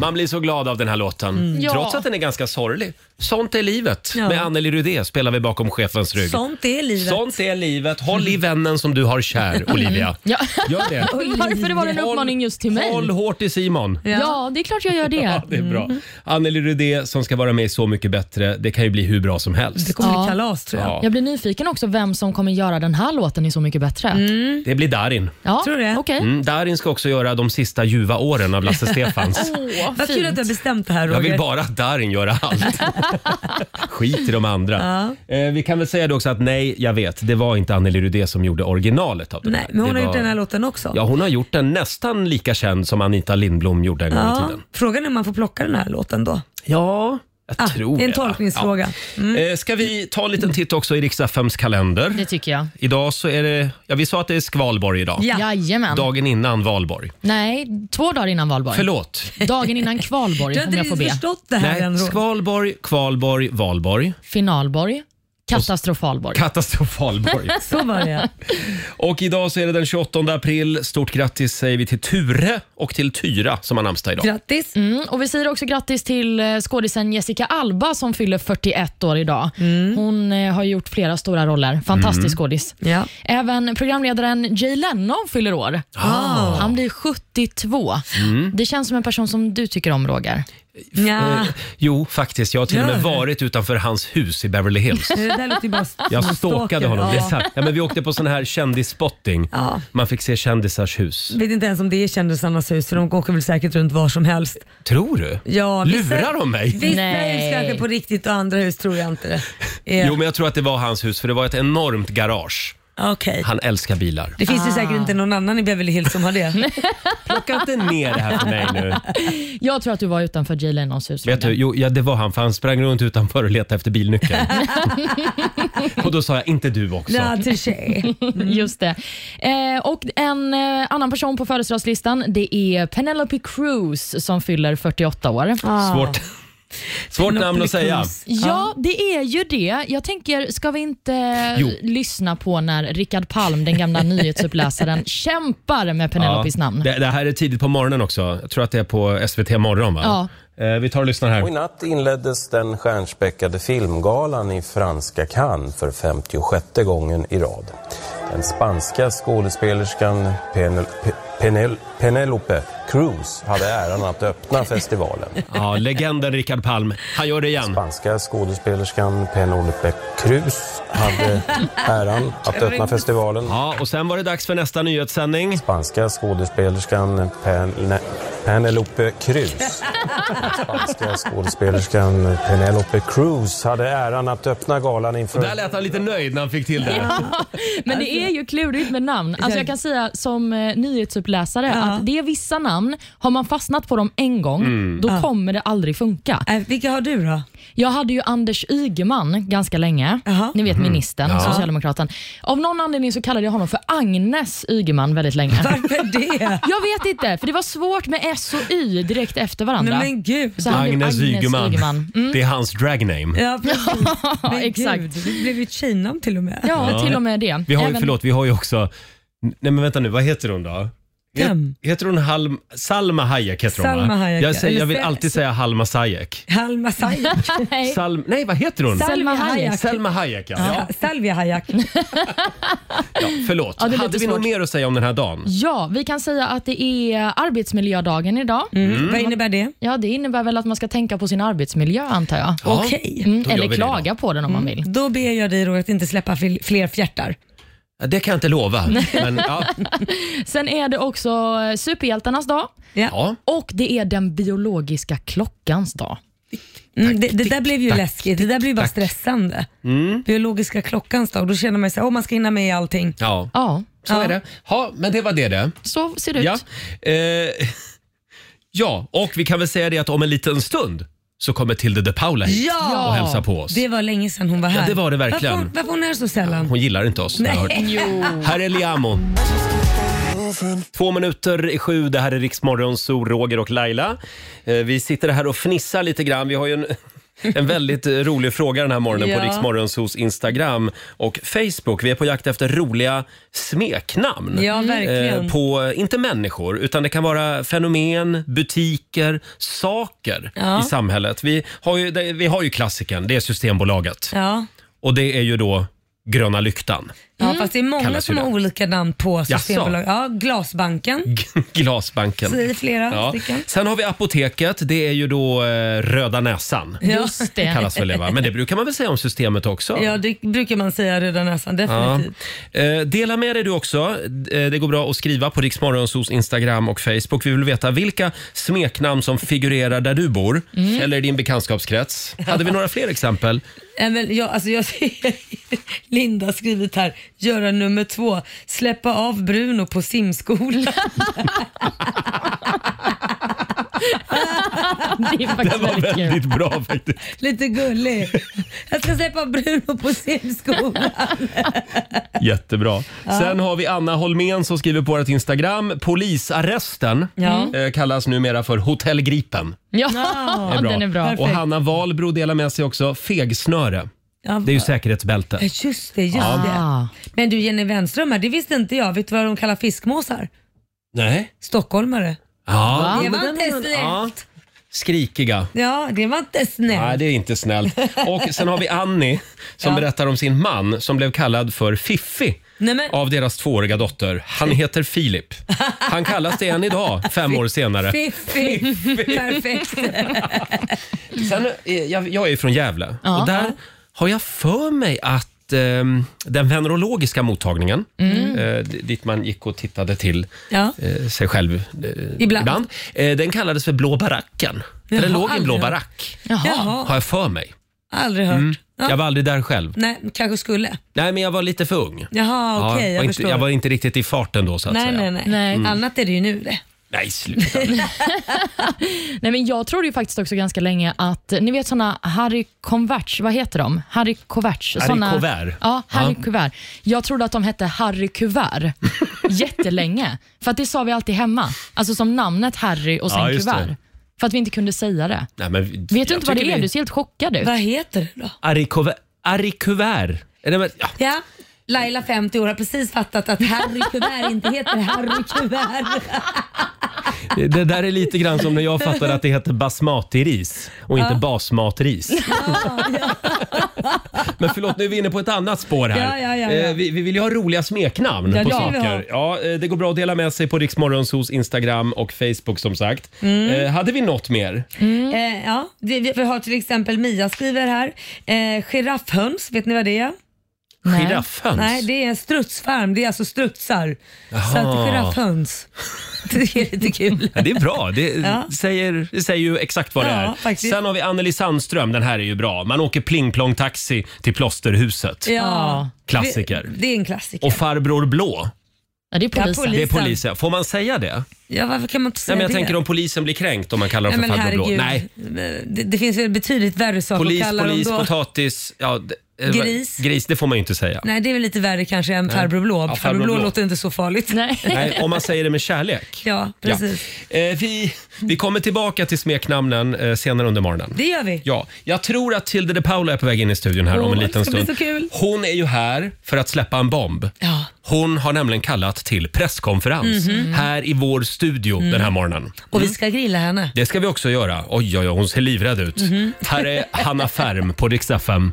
A: Man blir så glad av den här låten,
F: Mm. Ja.
A: trots att den är ganska sorglig. Sånt är livet.
B: Ja.
A: Med Anneli Rydé spelar vi bakom chefens rygg.
B: Sånt är livet.
A: Sånt är livet. Håll i vännen som du har kär,
F: *laughs*
A: Olivia.
F: Ja.
A: Gör det.
F: varför det var en uppmaning just till mig?
A: Håll hårt i Simon.
B: Ja.
F: Ja, det är klart jag gör
A: Ja,
F: det.
A: det är bra.
B: Mm.
A: Anneli Rudé som ska vara med i Så mycket bättre, det kan ju bli hur bra som
B: Det
A: helst.
B: kommer
F: Ja.
B: bli kalas tror jag.
A: Ja.
F: Jag blir nyfiken också vem som kommer göra den här låten i Så mycket bättre.
B: Mm.
A: Det blir Darin.
F: Ja,
B: Tror du det?
F: Okej.
A: Mm, Darin ska också göra De sista ljuva åren av
B: *laughs*
A: Lasse Stefans.
F: Åh,
B: Vad kul att
F: fint.
B: du har bestämt det här Roger.
A: Jag vill bara att Darin gör allt.
B: *laughs*
A: Skit i de andra. Eh, vi kan väl säga det också att nej, jag vet, det var inte Anneli Rudé som gjorde originalet av det
B: Nej,
A: där.
B: men hon
A: det
B: har
A: var-
B: gjort den här låten också.
A: Ja, hon har gjort den nästan lika känd som Anita Lindblom gjorde en gång i
B: Ja.
A: tiden.
B: Frågan är om man får plocka den här låten då.
A: Ja, jag
B: Ah,
A: tror
B: det är en
A: det, va?
B: tolkningsfråga. Mm.
A: Ja. Eh, Ska vi ta en liten titt också i Riks-FMs kalender?
F: Det tycker jag.
A: Idag så är det, ja vi sa att det är skvalborg idag.
B: Ja.
F: Jajamän.
A: Dagen innan valborg.
F: Nej, två dagar innan valborg.
A: Förlåt.
F: Dagen innan
B: Du
F: kvalborg
B: har
F: om
B: inte
F: jag får
B: riktigt
F: be.
B: förstått det här
A: Nej,
B: än Roger.
A: skvalborg, kvalborg, valborg.
F: Finalborg. Katastrofalborg.
B: *laughs*
A: Katastrofalborg.
B: Så var det
A: Och idag så är det den 28 april. Stort grattis säger vi till Ture och till Tyra som har namnsdag idag.
B: Grattis.
F: Mm, och Vi säger också grattis till eh, skådisen Jessica Alba som fyller 41 år idag. Hon eh, har gjort flera stora roller. Fantastisk skådis.
B: Ja.
F: Även programledaren Jay Leno fyller år.
A: Ah.
F: Han blir 72.
A: Mm.
F: Det känns som en person som du tycker om, Roger.
B: Ja.
A: Eh, jo, faktiskt. Jag har till och
B: Gör
A: med
B: det.
A: varit utanför hans hus i Beverly Hills.
B: Det där låter ju bara
A: Jag
B: som en
A: stalkade
B: stalker.
A: honom. Det är
B: Ja.
A: sant. Ja, men vi åkte på sån här kändisspotting.
B: Ja.
A: Man fick se kändisars hus.
B: Vet inte ens om det är kändisarnas hus för de åker väl säkert runt var som helst.
A: Tror du?
B: Ja, vissa-
A: Lurar de mig?
B: Vissa
F: Nej.
B: hus kanske på riktigt och andra hus tror jag inte det. är.
A: Jo, men jag tror att det var hans hus för det var ett enormt garage.
B: Okej.
A: Han älskar bilar.
B: Det finns ju säkert
A: Ah.
B: inte någon annan i Beverly Hills som
A: *laughs*
B: har det.
A: Plocka inte ner det här för mig nu.
F: Jag tror att du var utanför Jay Lenos
A: *laughs*
F: hus.
A: Vet du,
F: Roger.
A: jo, ja, det var han för han sprang runt utanför och letade efter *laughs* bilnyckeln. och då sa jag, inte du också?
B: Ja, touché.
F: *laughs* Just det. Eh, och En eh, annan person på födelsedagslistan det är Penelope Cruz som fyller 48 år.
A: Svårt, svårt namn att säga.
F: Ja, det är ju det. Jag tänker, ska vi inte
A: Jo.
F: lyssna på när Rickard Palm, den gamla *laughs* nyhetsuppläsaren, kämpar med Penelopes namn?
A: Det, det här är tidigt på morgonen också. Jag tror att det är på SVT morgon va? Eh, vi tar och lyssnar
E: Och i
A: *laughs* här.
E: natt inleddes den stjärnspäckade filmgalan i franska Cannes för 56 gången i rad. Den spanska skådespelerskan Penel, Pe- Penel, Penelope Cruz hade äran att öppna festivalen.
A: Ja, legenden Rickard Palm. Han gör det igen.
E: Spanska skådespelerskan Penelope Cruz hade äran att öppna festivalen.
A: Ja, och sen var det dags för nästa nyhetssändning.
E: Spanska skådespelerskan Pen- Penelope Cruz. Spanska skådespelerskan Penelope Cruz hade äran att öppna galan inför...
A: Där lät han lite nöjd när han fick till det.
F: Men
A: Alltså-
F: det är ju klurigt med namn. Alltså jag kan säga som eh, nyhetsuppläsare att det är vissa namn, har man fastnat på dem en gång,
A: Mm.
F: då kommer det aldrig funka.
B: Äh, vilka har du då?
F: Jag hade ju Anders Ygeman ganska länge.
B: Jaha.
F: Ni
A: Mhm.
F: vet ministern, socialdemokraten. Av någon anledning så kallade jag honom för Agnes Ygeman väldigt länge.
B: Varför
A: *laughs*
B: det?
F: Jag vet inte, för det var svårt med S och Y direkt efter varandra.
B: Nej, men gud.
F: Så han blev
A: Agnes Ygeman. Mm. Det är hans dragname.
B: Ja,
A: *laughs*
B: precis. Men
F: exakt.
B: Gud, det blev ju ett tjejnamn till och med.
F: Ja, till och med det.
A: Vi har ju,
F: Även-
A: förlåt, vi har ju också... Nej men vänta nu, vad heter hon då? He-
B: Vem?
A: Heter hon Halm, Salma Hayek? Heter hon,
B: Salma
A: va?
B: Hayek,
A: jag,
B: ja.
A: säger, jag
B: Eller
A: vill
B: Sel-
A: alltid säga Halma Sayek. *laughs*
B: Halma Sayek.
F: Nej.
A: Salm, nej, vad heter hon?
F: Sal- Selma
B: Salvia
F: Hayek.
B: Hayek.
A: Selma Hayek, ja.
B: Ja,
A: ja.
B: Salvia Hayek.
A: ja förlåt.
F: Ja, det är lite
A: Hade vi något
F: svårt.
A: mer att säga om den här dagen?
F: Ja, vi kan säga att det är arbetsmiljödagen idag.
A: Mm.
B: Vad innebär det?
F: Ja, det innebär väl att man ska tänka på sin arbetsmiljö antar jag.
A: Ja.
B: Okej.
F: Mm,
A: då Mm. gör vi
F: eller
A: det
F: klaga på den om man vill.
B: Då ber jag dig Roger att inte släppa fil- fler fjärtar.
A: Det kan jag inte lova. Men, ja,
F: Sen är det också eh, superhjältarnas dag
A: ja.
F: och det är den biologiska klockans dag.
B: Mm, det, det där blev ju
A: tack,
B: läskigt. Det där blev ju bara
A: tack. Mm.
B: stressande. Biologiska klockans dag. Då känner man sig, åh man ska hinna med i allting.
A: ja.
F: Ja,
A: Så är det. Ja, men det var det det.
F: så ser det
A: Ja.
F: ut.
A: Eh, ja, och vi kan väl säga det att om en liten stund så kommer Tilde de Paula hit
B: Ja!
A: och hälsar på oss.
B: Det var länge sedan hon var här.
A: det var det verkligen.
B: Varför, varför hon är så sällan?
A: Hon gillar inte oss. har jag hört. Här är Liamo. Två minuter i sju, det här är Riksmorgon, så Roger och Laila. Eh, Vi sitter här och fnissar lite grann. Vi har ju en, *laughs* en väldigt eh, rolig fråga den här morgonen på
B: Ja.
A: Riksmorgonsos Instagram och Facebook. Vi är på jakt efter roliga smeknamn.
B: Ja, verkligen.
A: Eh, På, inte människor, utan det kan vara fenomen, butiker, saker
B: Ja.
A: i samhället. Vi har, ju, det- vi har ju klassiken, det är Systembolaget.
B: Ja.
A: Och det är ju då Gröna lyktan. *laughs*
B: Ja, fast det är många
A: Mm. Kallas ju
B: som har
A: det.
B: olika namn på
A: Jaså?
B: Systembolaget. Ja, Glasbanken. Så det
A: Glasbanken.
B: är flera
A: Ja.
B: stycken.
A: Sen har vi apoteket, det är ju då eh, Röda Näsan.
F: Just det.
A: Kallas väl det, va? Men det brukar man väl säga om systemet också?
B: Ja, det brukar man säga Röda Näsan,
A: Ja.
B: definitivt.
A: Eh, dela med dig du också. Eh, det går bra att skriva på Riksmorgonsos Instagram och Facebook. Vi vill veta vilka smeknamn som figurerar där du bor
F: Mm.
A: eller i din bekantskapskrets. Hade vi några fler exempel?
B: Nej, men jag, alltså jag ser *laughs* Linda har skrivit här, göra nummer två, släppa av Bruno
A: *laughs*
B: på simskolan.
F: *laughs* Det är faktiskt väldigt kul.
A: Väldigt bra faktiskt.
B: Lite gullig. Jag ska släppa Bruno på simskolan.
A: *laughs* Jättebra. Sen har vi Anna Holmén som skriver på vårt Instagram. Polisarresten
B: Ja.
A: eh, kallas numera för Hotell Gripen.
F: Ja, den är bra.
B: Perfekt.
A: Och Hanna Wahlbro delar med sig också. Fegsnöre.
B: Ja,
A: Det är ju säkerhetsbälte.
B: Ja, Just det, just
F: Ah.
B: det. Men du Jenny Wenström här, det visste inte jag. Vet du vad de kallar fiskmåsar?
A: Nej.
B: Stockholmare.
A: Ja.
B: det var
F: men
B: inte snällt. Ja.
A: ja. Skrikiga.
B: det var inte
A: Nej,
B: snällt.
A: det är inte snällt. Och sen har vi Annie som
B: Ja.
A: berättar om sin man som blev kallad för Fiffi
B: Nej, men-
A: av deras tvååriga dotter. Han heter Filip. Han kallas det än idag, fem år senare.
B: Fiffi. Perfekt.
A: Sen, eh, jag, jag är ju från Gävle
F: Ja.
A: och där har jag för mig att ehm, den venerologiska mottagningen, eh, d- dit man gick och tittade till
B: Ja.
A: eh, sig själv eh, ibland,
B: Ibland.
A: eh, den kallades för Blå baracken. För
B: Jaha,
A: den låg i en blå
B: aldrig hört.
A: barack,
B: Jaha,
A: har jag för mig.
B: aldrig hört. Ja.
A: Mm. Jag var aldrig där själv.
B: Nej, kanske skulle.
A: Nej, men jag var lite för ung.
B: Jaha, okej, jag
A: var inte,
B: förstår.
A: jag var inte riktigt i farten då så Mm. att
B: nej,
A: säga.
B: nej, nej,
F: Nej.
B: Annat är det ju nu det.
A: Nej, sluta.
F: Nej, men jag trodde ju faktiskt också ganska länge att, ni vet såna Harry Converts, vad heter de? Harry Coverts.
A: Harry
F: såna,
A: Covert.
F: Ja, Harry
A: Ja.
F: Covert. Jag trodde att de hette Harry Kuvert jättelänge. För att det sa vi alltid hemma. Alltså som namnet Harry och sen
A: Ja, just det.
F: Kuvert. För att vi inte kunde säga det.
A: nej men,
F: Vet du inte vad det är? Du ser helt chockad ut.
B: Vad heter det då?
A: Arikuvert. Arikuvert. Nej, men, ja.
B: Ja. Laila 50 år har precis fattat att Harry Kuvert inte heter Harry Kuvert.
A: Det där är lite grann som när jag fattade att det heter basmatiris och inte basmatris. Men förlåt, nu är vi inne på ett annat spår här.
B: Ja, ja, ja, ja.
A: Eh, Vi, vi vill ju ha roliga smeknamn
F: Ja,
A: på
F: det vill
B: vi
A: saker. Ja, eh, det går bra att dela med sig på Riksmorgonsos Instagram och Facebook som sagt.
B: Mm.
A: Eh, hade vi något mer?
B: Eh, ja, det, vi, vi har till exempel Mia skriver här. Eh, giraffhöns, vet ni vad det är?
F: Nej.
A: Giraffhöns?
B: Nej, det är en strutsfarm. Det är alltså strutsar. Så att giraffhöns. Det är lite kul.
A: Ja, Det är bra. Det,
B: *laughs* Ja.
A: säger, det säger ju exakt vad det
B: Ja,
A: är.
B: faktiskt.
A: Sen har vi Anneli Sandström. Den här är ju bra. Man åker plingplong-taxi till plåsterhuset.
B: Ja.
A: Klassiker.
B: Det, det är en klassiker.
A: Och farbror blå,
F: Ja, det är
B: Ja,
F: polisen.
B: polis.
A: det är
B: Polisen.
A: polisen. Får man säga det?
B: Ja, varför kan man inte
A: Nej,
B: säga
A: men jag
B: det?
A: tänker om polisen blir kränkt om man kallar dem
B: Nej,
A: för
B: men
A: farbror blå.
B: herregud.
A: Nej.
B: Det, det finns väl betydligt värre saker
A: Polis,
B: att kalla
A: polis,
B: dem då.
A: potatis. Ja, d- eh,
B: Gris.
A: Gris, det får man ju inte säga. Nej.
B: Nej, det är väl lite värre kanske än farbror blå.
A: Ja,
B: farbror,
A: farbror
B: blå,
A: blå.
B: låter inte så farligt. *laughs*
F: Nej.
A: om man säger det med kärlek.
B: Ja, precis.
A: Eh, vi, vi kommer tillbaka till smeknamnen eh, senare under morgonen.
B: Det gör vi.
A: Ja, jag tror att Tilde de Paula är på väg in i studion här
B: Åh,
A: om en
B: det
A: liten
B: ska bli
A: stund.
B: så kul.
A: Hon är ju här för att släppa en bomb.
B: Ja. Mhm.
A: Hon har nämligen kallat till presskonferens här i vår studio den här morgonen.
B: Och vi ska grilla henne.
A: Det ska vi också göra. Oj, oj, oj, hon ser livrädd ut.
B: Mhm.
A: Här är Hanna Färm på Rix FM.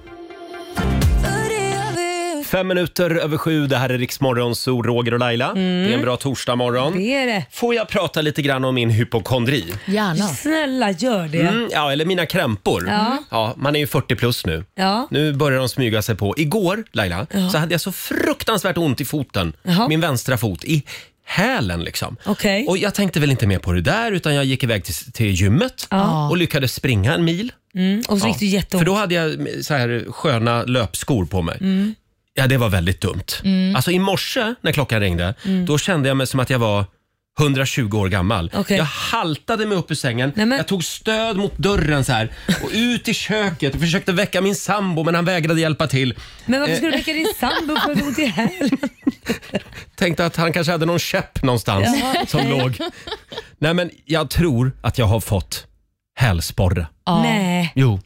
A: Fem minuter över sju, det här är Riksmorgon, så Roger och Laila. Det är en bra torsdagmorgon.
B: Mm. Det Mm. är det.
A: Får jag prata lite grann om min hypokondri?
F: Gärna.
B: Snälla gör det.
A: Mm, ja, eller mina krämpor.
B: Ja.
A: man är ju 40 plus nu.
B: Ja.
A: Nu börjar de smyga sig på. Igår, Laila, så hade jag så fruktansvärt ont i foten.
B: Jaha.
A: Min vänstra fot. I hälen liksom.
B: Okej.
A: Och jag tänkte väl inte mer på det där utan jag gick iväg till, till gymmet och lyckades springa en mil.
B: Mm. Och så fick du
A: För
B: jätteont.
A: då hade jag så här sköna löpskor på mig.
B: Mm.
A: Ja, det var väldigt dumt. Alltså i morse när klockan ringde,
B: Mm.
A: då kände jag mig som att jag var 120 år gammal.
B: Okej.
A: Jag haltade mig upp ur sängen,
B: Nej, men-
A: jag tog stöd mot dörren så här och ut i köket och försökte väcka min sambo men han vägrade hjälpa till.
B: Men varför ska
A: Eh.
B: du väcka din sambo för att ont i hälen?
A: Tänkte att han kanske hade någon käpp någonstans som låg. Nej men jag tror att jag har fått hälsporre.
F: Ja.
B: Nej.
A: Jo.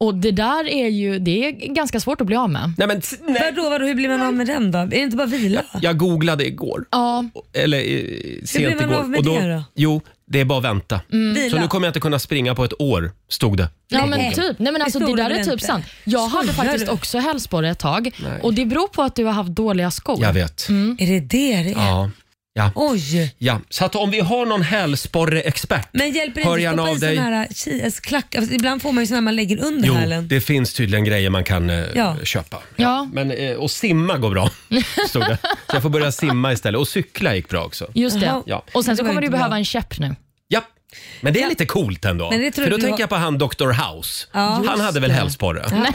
F: Och det där är ju det är ganska svårt att bli av med.
A: Nej men t- nej.
B: Vadå, vadå, hur blir man av med den då? Är det inte bara vila?
A: Jag googlade igår.
F: Ja,
A: eller eh, sent
B: blir man
A: igår.
B: av med det då? Mm.
A: Jo, det är bara att vänta. Så
F: Mm.
B: Vila?
A: nu kommer jag inte kunna springa på ett år, stod det.
F: Ja
A: på
F: men
A: Google.
F: typ. Nej, men alltså, det
B: tror
F: där
B: du
F: är
B: väl
F: typ
B: inte?
F: sant. Jag hade
B: Skojar
F: faktiskt
B: du?
F: också hälsporre ett tag och det beror på att du har haft dåliga skor.
A: Jag vet.
B: Är det det det är?
A: Ja. Ja.
B: Oj.
A: ja. Så att om vi har någon hälsporre-expert,
B: Men hjälper
A: hör
B: det inte
A: gärna
B: att
A: av
B: stoppa i
A: dig.
B: sådana här ki- alltså, klackar? Alltså, Ibland får man ju sådana man lägger under
A: Jo,
B: hälen.
A: det finns tydligen grejer man kan eh,
B: Ja.
A: köpa.
F: Ja.
A: Men, eh, och simma går bra, stod det. Så jag får börja simma istället. Och cykla gick bra också.
F: Just det.
B: Jaha.
A: Ja.
F: Och sen
B: Det
F: så
B: var
F: kommer
B: inte
F: du behöva
B: bra.
F: en käpp nu.
A: Ja. Men det är
B: Ja.
A: lite coolt ändå.
B: Men det tror
A: För då
B: du
A: tänker
B: har-
A: jag på han Dr. House.
B: Ja.
A: Han hade väl hälsporre?
B: *laughs*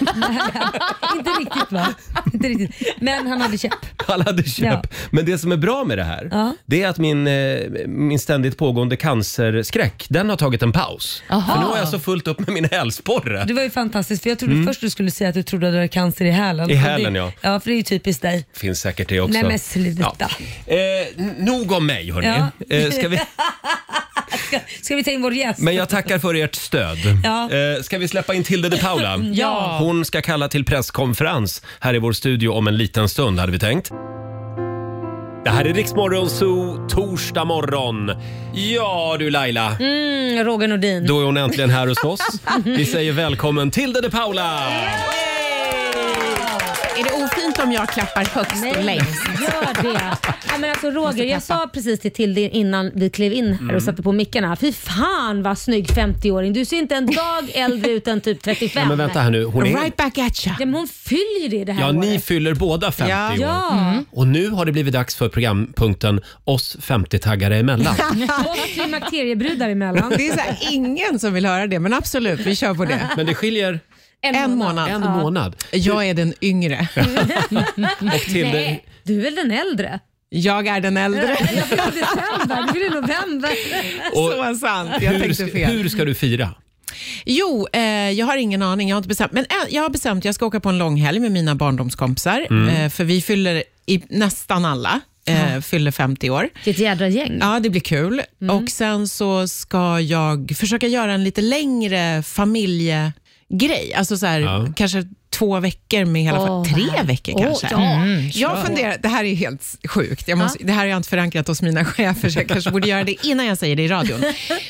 B: Inte riktigt va? Inte riktigt. Men han hade käpp.
A: Han hade köp.
B: Ja.
A: Men det som är bra med det här,
B: Ja.
A: det är att min, eh, min ständigt pågående cancerskräck, den har tagit en paus.
F: Aha.
A: För nu har jag så fullt upp med min hälsporre.
B: Det var ju fantastiskt för jag trodde först du skulle säga att du trodde att du hade cancer i hälen.
A: Mm. I
B: Och
A: hälen,
B: det,
A: ja.
B: Ja, för det är ju typiskt dig.
A: Finns säkert det också.
B: Nej, men sluta.
A: Ja. Eh, n- nog om mig hörni.
B: *laughs* Ja.
A: Eh, ska vi...
B: Ska, ska vi ta in vår gäst?
A: Men jag tackar för ert stöd.
B: Ja.
A: Eh, Ska vi släppa in Tilde de Paula?
B: *laughs* Ja.
A: Hon ska kalla till presskonferens här i vår studio om en liten stund hade vi tänkt. Det här är Riksmorgon Zoo, torsdag morgon. Ja du Laila,
B: Mm, Roger Nordin.
A: då är hon äntligen här hos oss. Vi säger välkommen Tilde de Paula!
J: Är det ofint om jag klappar högst och längst?
B: Gör det. Ja, men alltså, Roger, jag sa precis till Tilde innan vi klev in här
A: Mm.
B: och satte på mickarna. Fy fan vad snygg 50-åring. Du ser inte en dag äldre ut än typ 35.
A: Ja, men vänta här nu, hon är...
J: Right back at ya.
B: Ja, men hon fyller ju det det här
A: Ja, ni
B: året.
A: fyller båda 50
J: Ja.
A: år.
B: Ja.
A: Och nu har det blivit dags för programpunkten Oss 50-taggare
J: *laughs*
A: emellan.
B: Och klimakteriebrudar emellan.
J: Det är så här, ingen som vill höra det, men absolut, vi kör på det.
A: Men det skiljer
J: En månad.
A: en månad.
J: Jag är den yngre.
A: Och Tilde,
B: Nej, du är väl den äldre?
J: Jag är
H: *laughs*
J: den äldre.
B: Jag fyller i december, du fyller i november.
A: och
J: Så sant, jag
A: hur,
J: tänkte
A: ska-
J: fel.
A: hur ska du fira?
J: Jo, eh, jag har ingen aning. Jag har inte bestämt. Men eh, jag har bestämt att jag ska åka på en långhelg med mina barndomskompisar.
A: Mm.
J: Eh, för vi fyller, i, nästan alla eh, fyller 50 år.
B: Vilket jädra gäng.
J: Ja, det blir kul.
B: Mm.
J: Och Sen så ska jag försöka göra en lite längre familjegrej. Alltså så här,
A: Ja.
J: Kanske två veckor med hela
B: Åh,
J: fa- Tre
B: vad-
J: veckor
B: Åh,
J: kanske.
B: ja.
J: Jag funderar, det här är helt sjukt. Jag måste, Det här har jag inte förankrat hos mina chefer, så jag kanske borde göra det innan jag säger det i radion.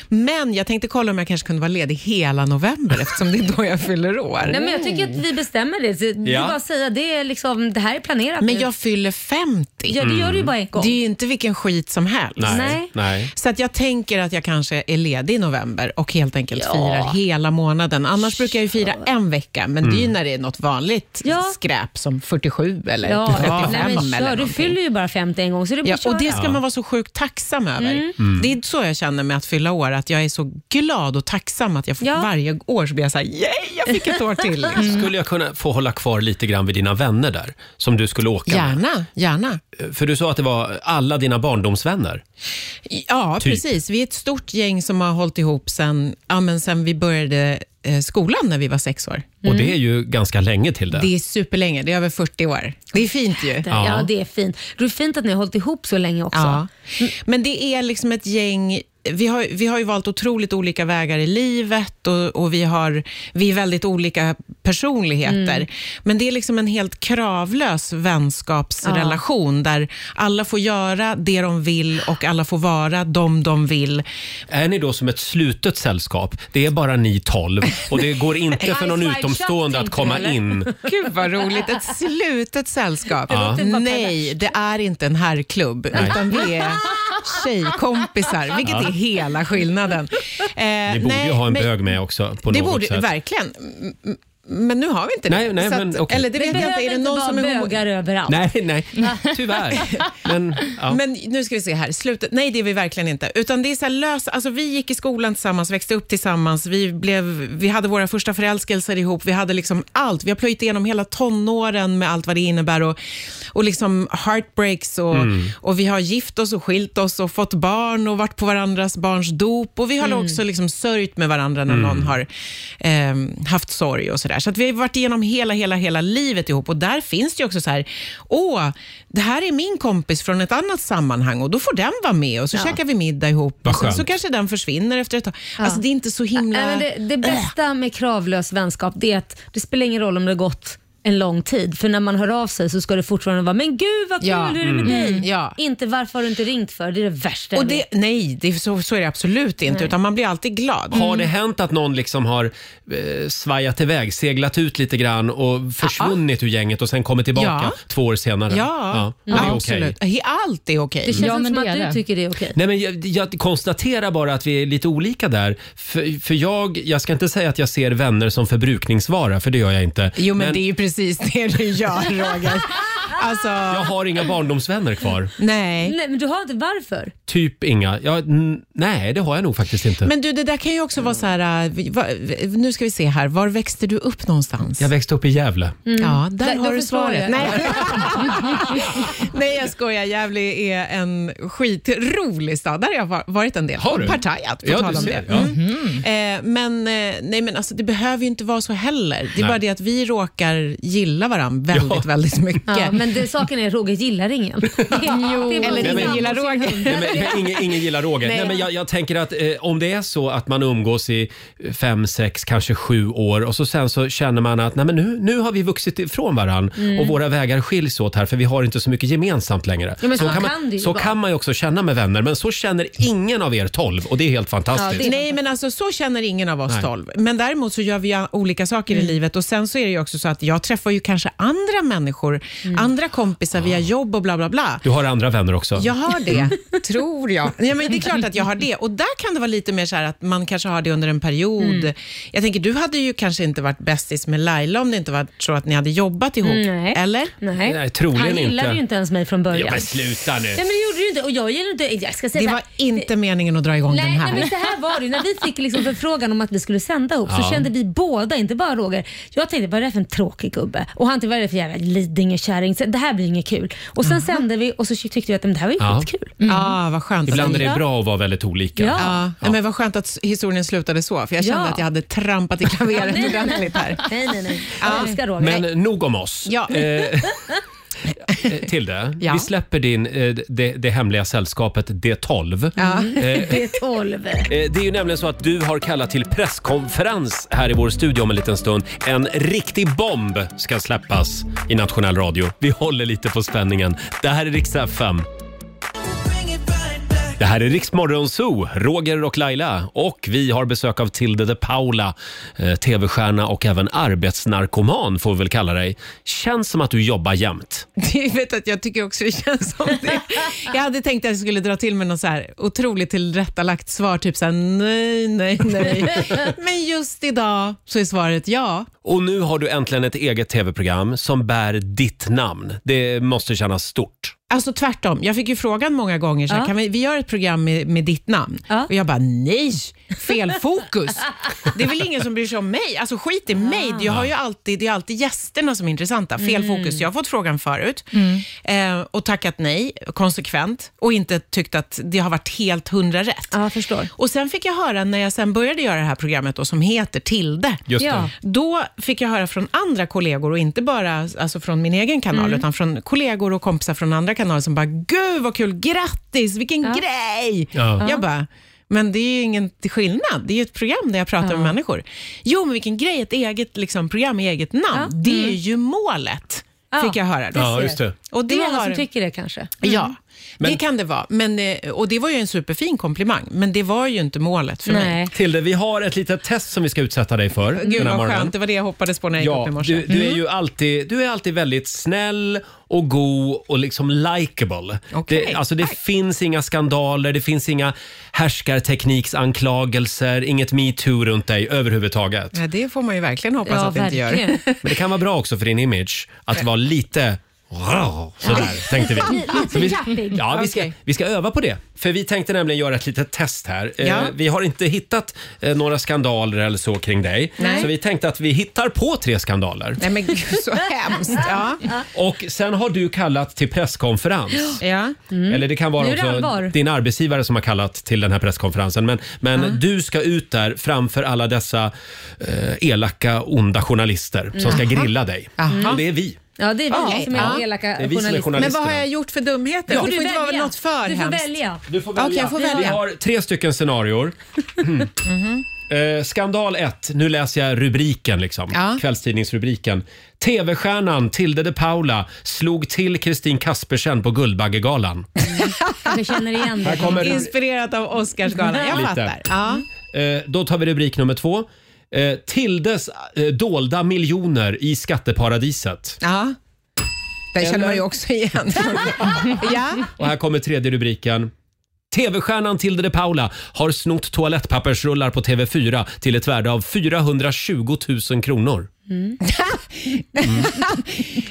J: Men jag tänkte kolla om jag kanske kunde vara ledig hela november, eftersom det är då jag fyller år.
B: Nej, men jag tycker att vi bestämmer det. Så Du
A: Ja.
B: bara säga det, är liksom, det här är planerat.
J: Men
B: nu.
J: jag fyller 50.
B: ja, det gör du ju bara en gång.
J: Det är ju inte vilken skit som helst.
B: Nej.
A: Nej.
J: Så att jag tänker att jag kanske är ledig i november och helt enkelt
B: Ja.
J: firar hela månaden. Annars brukar jag ju fira en vecka, men det är ju när det är något vanligt
B: Ja.
J: skräp som 47 eller
B: Ja,
J: 35
B: nej, men
J: eller
B: kör. Du
J: någonting.
B: fyller ju bara 50 en gång så det blir
J: Ja,
B: att
J: och det
B: köra. Mm.
J: ska man vara så sjukt tacksam över. Det är så jag känner med att fylla år, att jag är så glad och tacksam att jag får,
B: Ja.
J: varje år så blir jag så här, yay, jag fick ett år
B: *laughs*
J: till.
A: Skulle jag kunna få hålla kvar lite grann vid dina vänner där, som du skulle åka med?
J: Gärna, gärna.
A: För du sa att det var alla dina barndomsvänner.
J: Ja,
A: Typ.
J: precis. Vi är ett stort gäng som har hållit ihop sen, ja, men sen vi började eh, skolan när vi var sex år.
A: Och det är ju ganska länge till det.
J: Det är superlänge, det är över 40 år. Det är fint ju.
B: Ja.
A: Ja.
B: det är fint. Det är fint att ni har hållit ihop så länge också.
J: Ja. Mm. Men det är liksom ett gäng, vi har, vi har ju valt otroligt olika vägar i livet och, och vi, har, vi är väldigt olika personligheter. Men det är liksom en helt kravlös vänskapsrelation där alla får göra det de vill och alla får vara de de vill.
A: Är ni då som ett slutet sällskap? Det är bara ni tolv och
J: *laughs*
A: det går inte för någon
B: Eyes wide
A: utomstående
B: shut,
A: att komma
B: tänkte du,
A: in.
J: Gud vad roligt, ett slutet sällskap.
B: låter bara
J: Nej, det är inte en herrklubb, utan vi är tjejkompisar, vilket är hela skillnaden. Eh,
A: Ni borde
J: nej,
A: ju ha en
J: men-
A: bög med också på
J: det
A: något
J: borde,
A: sätt.
J: Verkligen. M- m- Men nu har vi inte det.
A: Nej, nej,
J: Så
A: men okej.
J: Eller det
B: Det
J: vet jag inte.
B: behöver
J: Är det
B: inte
J: någon
B: vara
J: som är homo-
B: bögar överallt.
A: Nej, nej,
J: *laughs*
A: tyvärr. Men, ja.
J: Men nu ska vi se här, slutet. Nej, det är vi verkligen inte. Utan det är så här lös... Alltså vi gick i skolan tillsammans, växte upp tillsammans, vi, blev... vi hade våra första förälskelser ihop, vi hade liksom allt. Vi har plöjt igenom hela tonåren med allt vad det innebär och, och liksom heartbreaks och, och vi har gift oss och skilt oss och fått barn och varit på varandras barns dop och vi har
B: Mm.
J: också liksom sörjt med varandra
A: Mm.
J: när någon har ehm, haft sorg och sådär. Så att vi har varit igenom hela, hela, hela livet ihop och där finns det ju också så här, åh, det här är min kompis från ett annat sammanhang och då får den vara med och så käkar vi middag ihop
A: Vad
J: och sen så
A: skönt.
J: kanske den försvinner efter ett tag. Alltså det är inte så himla...
B: Nej, men det, det bästa med kravlös vänskap det är att det spelar ingen roll om det har gått en lång tid. För när man hör av sig så ska det fortfarande vara “men gud vad kul,
J: Ja. Mm.
B: hur är det med dig?”
J: Ja.
B: Inte “varför har du inte ringt för?” Det är det värsta
J: och
B: jag
J: det,
B: vet.
J: nej, det, är- så, så är det absolut inte, utan man blir alltid glad.
A: Har det hänt att någon liksom har eh, svajat iväg, seglat ut lite grann och försvunnit ur gänget och sen kommit tillbaka
J: Ja.
A: två år senare?
J: Mm. Ja,
A: Och det är okej.
J: absolut. He- Allt är okej.
B: Det känns
F: Ja,
B: inte
F: men
B: som
F: det
B: att
F: är
B: du
F: det.
B: tycker det är okej.
A: Nej, men jag, jag konstaterar bara att vi är lite olika där. För, för jag, jag ska inte säga att jag ser vänner som förbrukningsvara, för det gör jag inte.
J: Jo, men,
A: Men-
J: det är ju precis det du gör,
B: *laughs*
J: Roger. Alltså,
A: Jag har inga barndomsvänner kvar. Mm.
J: nej.
B: Nej, men du har inte varför?
A: Typ inga. Jag, n- nej, det har jag nog faktiskt inte.
J: Men du, det där kan ju också vara så här, äh, vi- va- v- nu ska vi se här, var växte du upp någonstans? Mm.
A: Jag växte upp i Gävle.
B: Mm.
J: Ja, där
B: Där-
J: har
B: då
J: du
B: förstår
J: svaret.
B: jag.
J: Nej.
B: *laughs*
J: Nej, *laughs* jag skojar. Gävle är en skitrolig stad. Där har jag var- varit en del.
A: Har du?
J: Och partajat, på
A: Ja,
J: tal
A: du
J: om
A: ser,
J: det.
A: ja. Mm-hmm.
J: Eh, men eh, nej, men alltså, det behöver ju inte vara så heller. Det är
A: Nej.
J: bara det att vi råkar gilla varandra väldigt,
A: Ja.
J: väldigt mycket.
B: Ja, men Men
J: *laughs*
B: det, saken är Roger gillar ingen. *laughs*
F: Jo.
A: Eller ingen
F: gillar
B: Roger.
A: Nej, men, men ingen, ingen gillar Roger. Nej.
B: Nej.
A: men jag, jag tänker att eh, om det är så att man umgås i fem, sex, kanske sju år och så sen så känner man att nej, men nu, nu har vi vuxit ifrån varann
B: Mm.
A: och våra vägar skiljs åt här för vi har inte så mycket gemensamt längre.
B: Ja, men så
A: kan
B: kan det
A: man,
B: ju
A: så
B: vara.
A: kan man ju också känna med vänner men så känner ingen av er tolv och det är helt fantastiskt.
J: Nej, men alltså så känner ingen av oss
A: Nej.
J: tolv. Men däremot så gör vi ju olika saker
B: Mm.
J: i livet och sen så är det ju också så att jag träffar ju kanske andra människor,
B: Mm.
J: andra kompisar via jobb och bla bla bla.
A: Ah. Du Mm. har andra vänner också.
J: Jag har
A: *laughs*
J: det, tror jag. Ja, men det är klart att jag har det. Och där kan det vara lite mer så här att man kanske har det under en period.
B: Mm.
J: Jag tänker, du hade ju kanske inte varit bästis med Laila om det inte varit så att ni hade jobbat ihop.
B: Nej.
J: Eller?
B: Nej.
A: Nej, troligen
B: Han gillade
A: inte.
B: ju inte ens mig från början.
A: Ja, men sluta nu.
B: Nej men det gjorde du inte och jag gillar inte, jag ska säga
J: Det
B: så
J: var
B: här.
J: inte meningen att dra igång
B: Nej,
J: den här.
B: nej men så här var det ju. När vi fick liksom förfrågan om att vi skulle sända ihop
J: Ja.
B: så kände vi båda, inte bara Roger. Jag tänkte vad är det här för en tråkig gubbe? Och han tänkte vad är det för jävla Lidingökärring? Så Det här blir inget kul. Och sen sände vi och så tyckte vi att men, Mm. det här var ju
A: Ja.
B: skitkul.
J: Mm. Ja, Ah, vad skönt.
A: Ibland är det
J: Ja.
A: bra att vara väldigt olika.
J: Ja. Nej, Men vad skönt att historien slutade så, för jag kände
B: Ja.
J: att jag hade trampat i
B: Ja,
J: klaveret
B: nej, nej, nej.
J: ordentligt här.
B: Nej, nej, nej.
J: Ja.
B: Jag älskar Roger.
A: Men nog om oss.
J: Ja. *laughs*
A: Eh, Eh, Tilde,
B: *laughs* Ja.
A: vi släpper din, eh, det, det hemliga sällskapet D12.
B: Ja.
A: Eh, eh,
B: Det är 12.
A: det är ju nämligen så att du har kallat till presskonferens här i vår studio om en liten stund. En riktig bomb ska släppas i nationell radio. Vi håller lite på spänningen. Det här är Rix FM. Det här är Rix Morgon Zoo, Roger och Laila. Och vi har besök av Tilde de Paula, eh, tv-stjärna och även arbetsnarkoman får vi väl kalla dig. Känns som att du jobbar jämt.
J: Du vet att jag tycker också det känns som det. Jag hade tänkt att jag skulle dra till med något så här otroligt tillrättalagt svar, typ så här, nej, nej,
B: *laughs*
J: nej. Men just idag så är svaret ja.
A: Och nu har du äntligen ett eget tv-program som bär ditt namn. Det måste kännas stort.
J: Alltså tvärtom, jag fick ju frågan många gånger, så här,
A: Ja.
J: kan vi, vi gör ett program med, med ditt namn. Och jag bara, nej, fel fokus. det är väl ingen som bryr sig om mig, alltså skit i mig. Jag har ju alltid, det är alltid gästerna som är intressanta, fel
K: Mm.
J: fokus. Jag har fått frågan förut. Eh, och tackat nej konsekvent och inte tyckt att det har varit helt hundra rätt.
B: Ja, förstår.
J: Och sen fick jag höra när jag sen började göra det här programmet då, som heter Tilde.
K: Just det. Ja.
J: Då fick jag höra från andra kollegor och inte bara alltså från min egen kanal
K: Mm.
J: utan från kollegor och kompisar från andra kanaler som bara “Gud vad kul, grattis, vilken grej!”
K: Ja.
J: Jag bara men det är ju ingen skillnad. Det är ju ett program där jag pratar med människor. Jo, men vilken grej. Ett eget liksom, program med eget namn.
B: Ja.
J: Det är
B: Mm.
J: ju målet, fick jag höra. Då.
A: Ja, just det.
J: Och
B: det är många
J: har...
B: som tycker Mm. det kanske.
J: Ja, det kan det vara. Men, eh, och det var ju en superfin komplimang, men det var ju inte målet för mig.
A: Tilde, vi har ett litet test som vi ska utsätta dig för
J: Gud
A: den här
J: vad
A: morgonen.
J: skönt, det var det jag hoppades på när jag gick upp i
A: Ja,
J: morse.
A: du, du är
J: Mm.
A: ju alltid, du är alltid väldigt snäll och god och liksom likeable. Det, alltså det finns inga skandaler, det finns inga härskartekniksanklagelser, inget metoo runt dig överhuvudtaget.
J: Ja, det får man ju verkligen hoppas
A: Ja,
J: att det inte gör.
A: verkligen. Men det kan vara bra också för din image att vara lite
J: *laughs*
A: Sådär, tänkte vi. Så vi,
K: Jappig.
A: ja, vi, ska,
K: Okej.
A: vi ska öva på det. För vi tänkte nämligen göra ett litet test här. Eh,
K: Ja.
A: Vi har inte hittat eh, några skandaler eller så kring dig.
J: Nej.
A: Så vi tänkte att vi hittar på tre skandaler.
J: *laughs* Nej men gud så hemskt. Ja.
A: Och sen har du kallat till presskonferens. Mm.
J: Ja.
A: Eller det kan vara
J: Nu är det
A: också
J: allvar.
A: din arbetsgivare som har kallat till den här presskonferensen. Men, men du ska ut där framför alla dessa eh, elaka, onda journalister som ska
J: Jaha.
A: grilla dig.
J: Jaha.
A: Och det är vi.
B: Ja, det är vi
J: Okej.
B: som är
J: Ja.
B: elaka
A: Det är vi som är
B: journalister.
A: journalister. Men vad har
J: jag gjort för dumheter?
B: Ja.
J: Det får inte vara något för
B: Du får
J: hemskt.
B: välja.
A: Du får välja.
J: Okej, jag får
A: Vi
J: välja.
A: har tre stycken scenarior. Mm. Eh, skandal 1. Nu läser jag rubriken. Liksom. Kvällstidningsrubriken. TV-stjärnan Tilde de Paula slog till Kristin Kaspersen på Guldbaggegalan.
B: Jag känner
J: *laughs*
B: igen
A: Här
B: det.
A: kommer-
J: Inspirerat av Oscarsgalan. Jag
A: Lite.
J: fattar. Ja.
A: Eh, då tar vi rubrik nummer två. Eh, Tildes eh, dolda miljoner i skatteparadiset.
J: ja. Där känner
A: Eller-
J: man ju också
B: *laughs*
J: igen. ja.
A: Och här kommer tredje rubriken. TV-stjärnan Tilde de Paula har snott toalettpappersrullar på TV4 till ett värde av 420 000 kronor.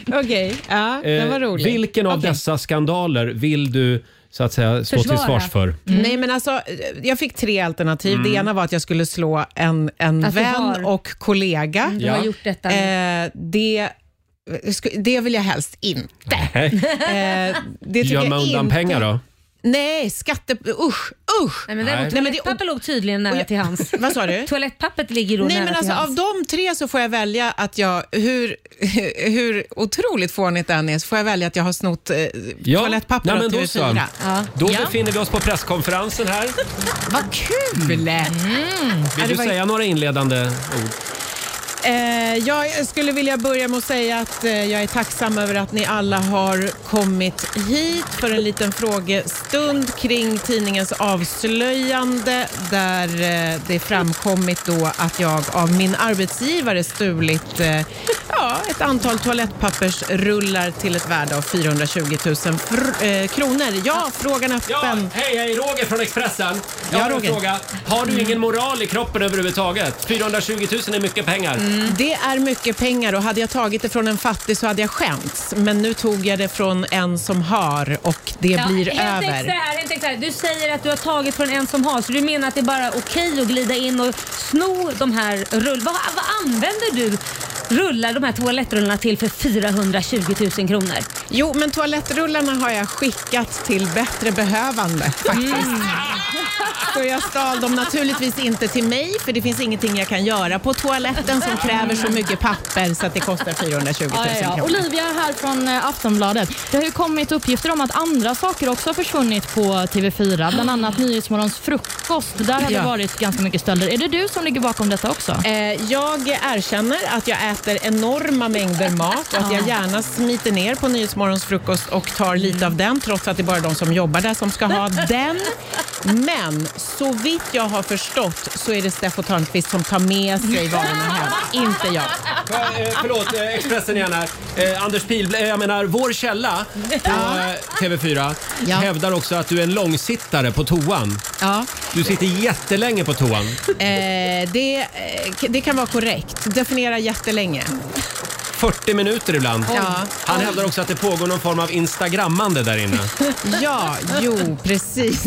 J: Okej, ja, den var
A: Eh,
J: rolig.
A: Vilken av dessa skandaler vill du så att säga stå till svars för?
J: Nej, men alltså, eh, jag fick tre alternativ.
A: Mm.
J: Det ena var att jag skulle slå en, en
B: Att du
J: vän
B: har-
J: och kollega.
B: Mm, du har Ja. gjort detta.
J: Eh, det, sku- det vill jag helst inte.
A: *laughs* Nej.
J: Eh, det tycker
A: Gömma
J: jag
A: undan
J: inte.
A: pengar då?
J: Nej, skatte... Usch, usch!
B: Nej, men däremot toalettpapper låg tydligen nära till hans.
J: *laughs* Vad sa du?
B: Toalettpappret ligger då
J: Nej,
B: nära
J: men alltså,
B: till hans.
J: av de tre så får jag välja att jag, hur, *laughs* hur otroligt fånigt det än är, så får jag välja att jag har snott eh, toalettpapper
A: nej,
J: av
A: men då så.
J: TV4.
A: Då befinner vi oss på
J: *laughs*
A: presskonferensen här.
J: Vad kul!
A: Vill
J: det
A: du
J: var-
A: säga några inledande ord?
J: Eh, jag skulle vilja börja med att säga att eh, jag är tacksam över att ni alla har kommit hit för en liten frågestund kring tidningens avslöjande där eh, det framkommit då att jag av min arbetsgivare stulit eh, ja, ett antal toalettpappersrullar till ett värde av 420 000 fr- eh, kronor. Ja, frågan är öppen.
A: hej, hej, Roger från Expressen. Jag
J: Ja,
A: har en
J: Roger.
A: fråga. Har du ingen moral i kroppen överhuvudtaget? 420 000 är mycket pengar.
J: Det är mycket pengar och hade jag tagit det från en fattig så hade jag skämts. Men nu tog jag det från en som har och det
B: Ja,
J: blir
B: helt
J: över.
B: Extra, här, helt extra. här. Du säger att du har tagit från en som har, så du menar att det är bara okej att glida in och sno de här rull... Vad, vad använder du rullar, de här toalettrullarna till för 420 000 kronor?
J: Jo, men toalettrullarna har jag skickat till bättre behövande
F: Mm.
J: faktiskt. Så jag stal dem naturligtvis inte till mig för det finns ingenting jag kan göra på toaletten som kräver så mycket papper så att det kostar 420 000
F: Ja, ja, ja.
J: kronor.
F: Olivia här från eh, Aftonbladet. Det har ju kommit uppgifter om att andra saker också har försvunnit på TV4, bland annat Nyhetsmorgons frukost. Där har det
J: Ja.
F: varit ganska mycket stölder. Är det du som ligger bakom detta också?
J: Eh, Jag erkänner att jag äter enorma mängder mat och att jag gärna smiter ner på Nyhetsmorgons frukost och tar lite av den trots att det är bara de som jobbar där som ska ha den. Men så vitt jag har förstått så är det Steffo Törnqvist som tar med sig varorna hem, inte jag.
A: Förlåt, eh, Expressen igen här. Eh, Anders Pihl, eh, jag menar vår källa på eh, TV4
J: Ja.
A: hävdar också att du är en långsittare på toan.
J: Ja.
A: Du sitter jättelänge på toan.
J: Eh, det, eh, k- det kan vara korrekt. Definiera jättelänge.
A: 40 minuter ibland.
J: Ja.
A: Han hävdar också att det pågår någon form av instagrammande där
J: *laughs*
A: inne.
J: Ja, jo,
A: *laughs*
J: precis.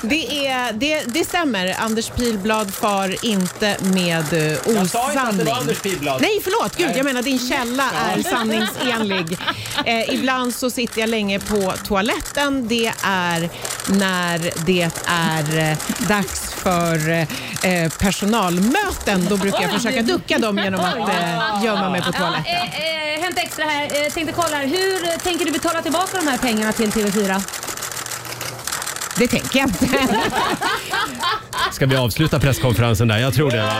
J: Det, är, det, det stämmer. Anders Pilblad far inte med eh, osanning.
A: Jag sa inte att det var Anders Pilblad.
J: Nej, förlåt. Gud, jag menar din källa är
A: *laughs*
J: sanningsenlig. Eh, ibland så sitter jag länge på toaletten. Det är när det är eh, dags för eh, personalmöten. Då brukar
A: *laughs*
J: jag försöka ducka dem genom att eh, gömma mig på toaletten.
B: Ja, eh, eh, Hämta extra här. Eh, tänkte kolla här. Hur eh, tänker du betala tillbaka de här pengarna till TV4?
J: Det tänker jag inte.
A: Ska vi avsluta presskonferensen där? Jag tror det. Va?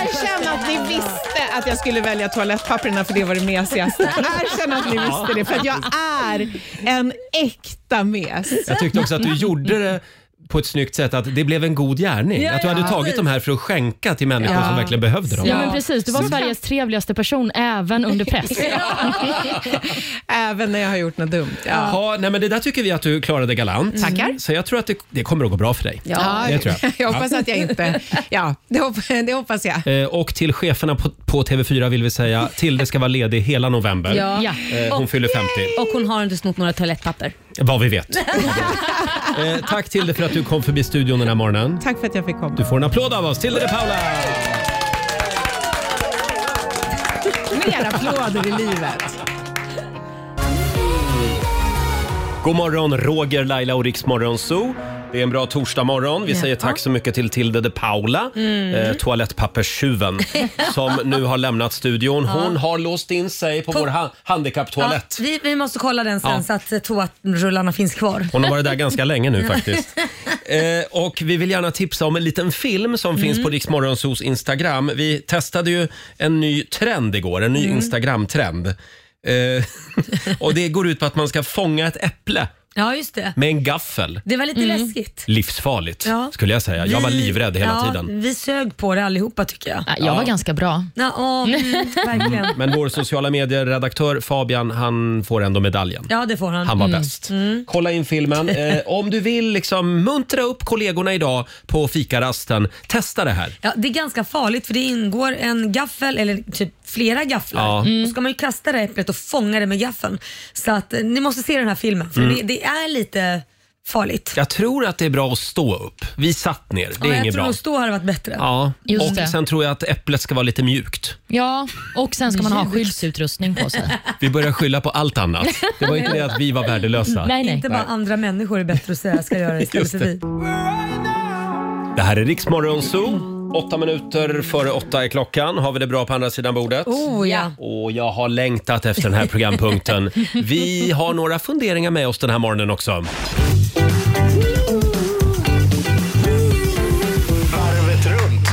J: Erkänn att ni visste att jag skulle välja toalettpapperna för det var det mesigaste. Erkänn att ni visste det för att jag är en äkta mes.
A: Jag tyckte också att du gjorde det på ett snyggt sätt, att det blev en god gärning.
B: Ja,
A: att du
B: ja,
A: hade tagit
B: precis.
A: de här för att skänka till människor
J: Ja.
A: som verkligen behövde dem.
F: Ja, men precis. Du var Sveriges trevligaste person även
J: *laughs*
F: under press.
J: Även när jag har gjort något dumt. Ja. Mm.
A: Ja, nej, men det där tycker vi att du klarade galant.
J: Tackar.
A: Så jag tror att det, det kommer att gå bra för dig.
J: Ja,
A: det tror jag.
J: jag hoppas att jag inte... Ja, det, hop, det hoppas jag.
A: Eh, Och till cheferna på, på TV4 vill vi säga Tilde ska vara ledig hela november.
F: Ja.
A: Eh, Hon
B: Och-
A: fyller 50,
B: Och hon har inte snott några toalettpapper.
A: vad
J: *laughs*
A: vi vet. Eh, Tack Tilde för att du kom förbi studion den här morgonen.
J: Tack för att jag fick komma.
A: Du får en applåd av oss, Tilde de Paula!
J: Mer applåder i livet.
A: God morgon, Roger, Laila och Riksmorgon Zoo. Det är en bra torsdagmorgon. Vi säger tack så mycket till Tilde de Paula,
J: Mm.
A: eh, toalettpapperstjuven,
J: *laughs*
A: som nu har lämnat studion. Hon har låst in sig på vår ha- handikapptoalett.
B: Ja, vi, vi måste kolla den sen
A: Ja.
B: så att eh, toarullarna finns kvar.
A: Hon har varit där ganska länge nu
B: *laughs*
A: faktiskt. Eh, och vi vill gärna tipsa om en liten film som
B: Mm.
A: finns på Riksmorgonsos Instagram. Vi testade ju en ny trend igår, en ny
B: Mm.
A: Instagram-trend. Eh, *laughs* och det går ut på att man ska fånga ett äpple
B: Ja, just det. Mm.
A: med en gaffel.
B: Det var lite läskigt.
A: Livsfarligt
B: Ja.
A: skulle jag säga. Jag var
B: Vi-
A: livrädd hela
B: ja,
A: tiden.
B: Vi sög på det allihopa tycker jag.
F: Ja, Jag var ganska bra.
B: Ja, åh, mm, *laughs* verkligen.
A: Men vår sociala medier-redaktör Fabian, han får ändå medaljen.
B: Ja, det får han.
A: Han var bäst.
B: Mm.
A: Kolla in filmen. Eh, om du vill liksom muntra upp kollegorna idag på fikarasten, testa det här.
B: Ja, det är ganska farligt för det ingår en gaffel eller typ flera gafflar.
A: Ja.
B: Och ska man ju kasta det
A: Mm.
B: här äpplet och fånga det med gaffeln. Så att eh, ni måste se den här filmen för det, det är lite farligt.
A: Jag tror att det är bra att stå upp. Vi satt ner, det är
B: Ja,
A: inget
B: jag tror
A: bra.
B: nog stå hade varit bättre.
A: Ja,
F: Just
A: och
F: det.
A: sen tror jag att äpplet ska vara lite mjukt.
F: Ja, och sen ska man ha skyddsutrustning
J: *laughs*
F: på sig.
A: Vi börjar skylla på allt annat. Det var inte det att vi var värdelösa.
F: Nej, nej.
B: Inte bara andra människor är bättre att säga ska göra istället
A: Just
B: för
A: det.
B: vi.
A: Det här är Riksmorgon Zoo. Åtta minuter före åtta är klockan. Har vi det bra på andra sidan bordet?
B: Oh ja.
A: Och jag har längtat efter den här programpunkten. Vi har några funderingar med oss den här morgonen också.
K: Varvet runt.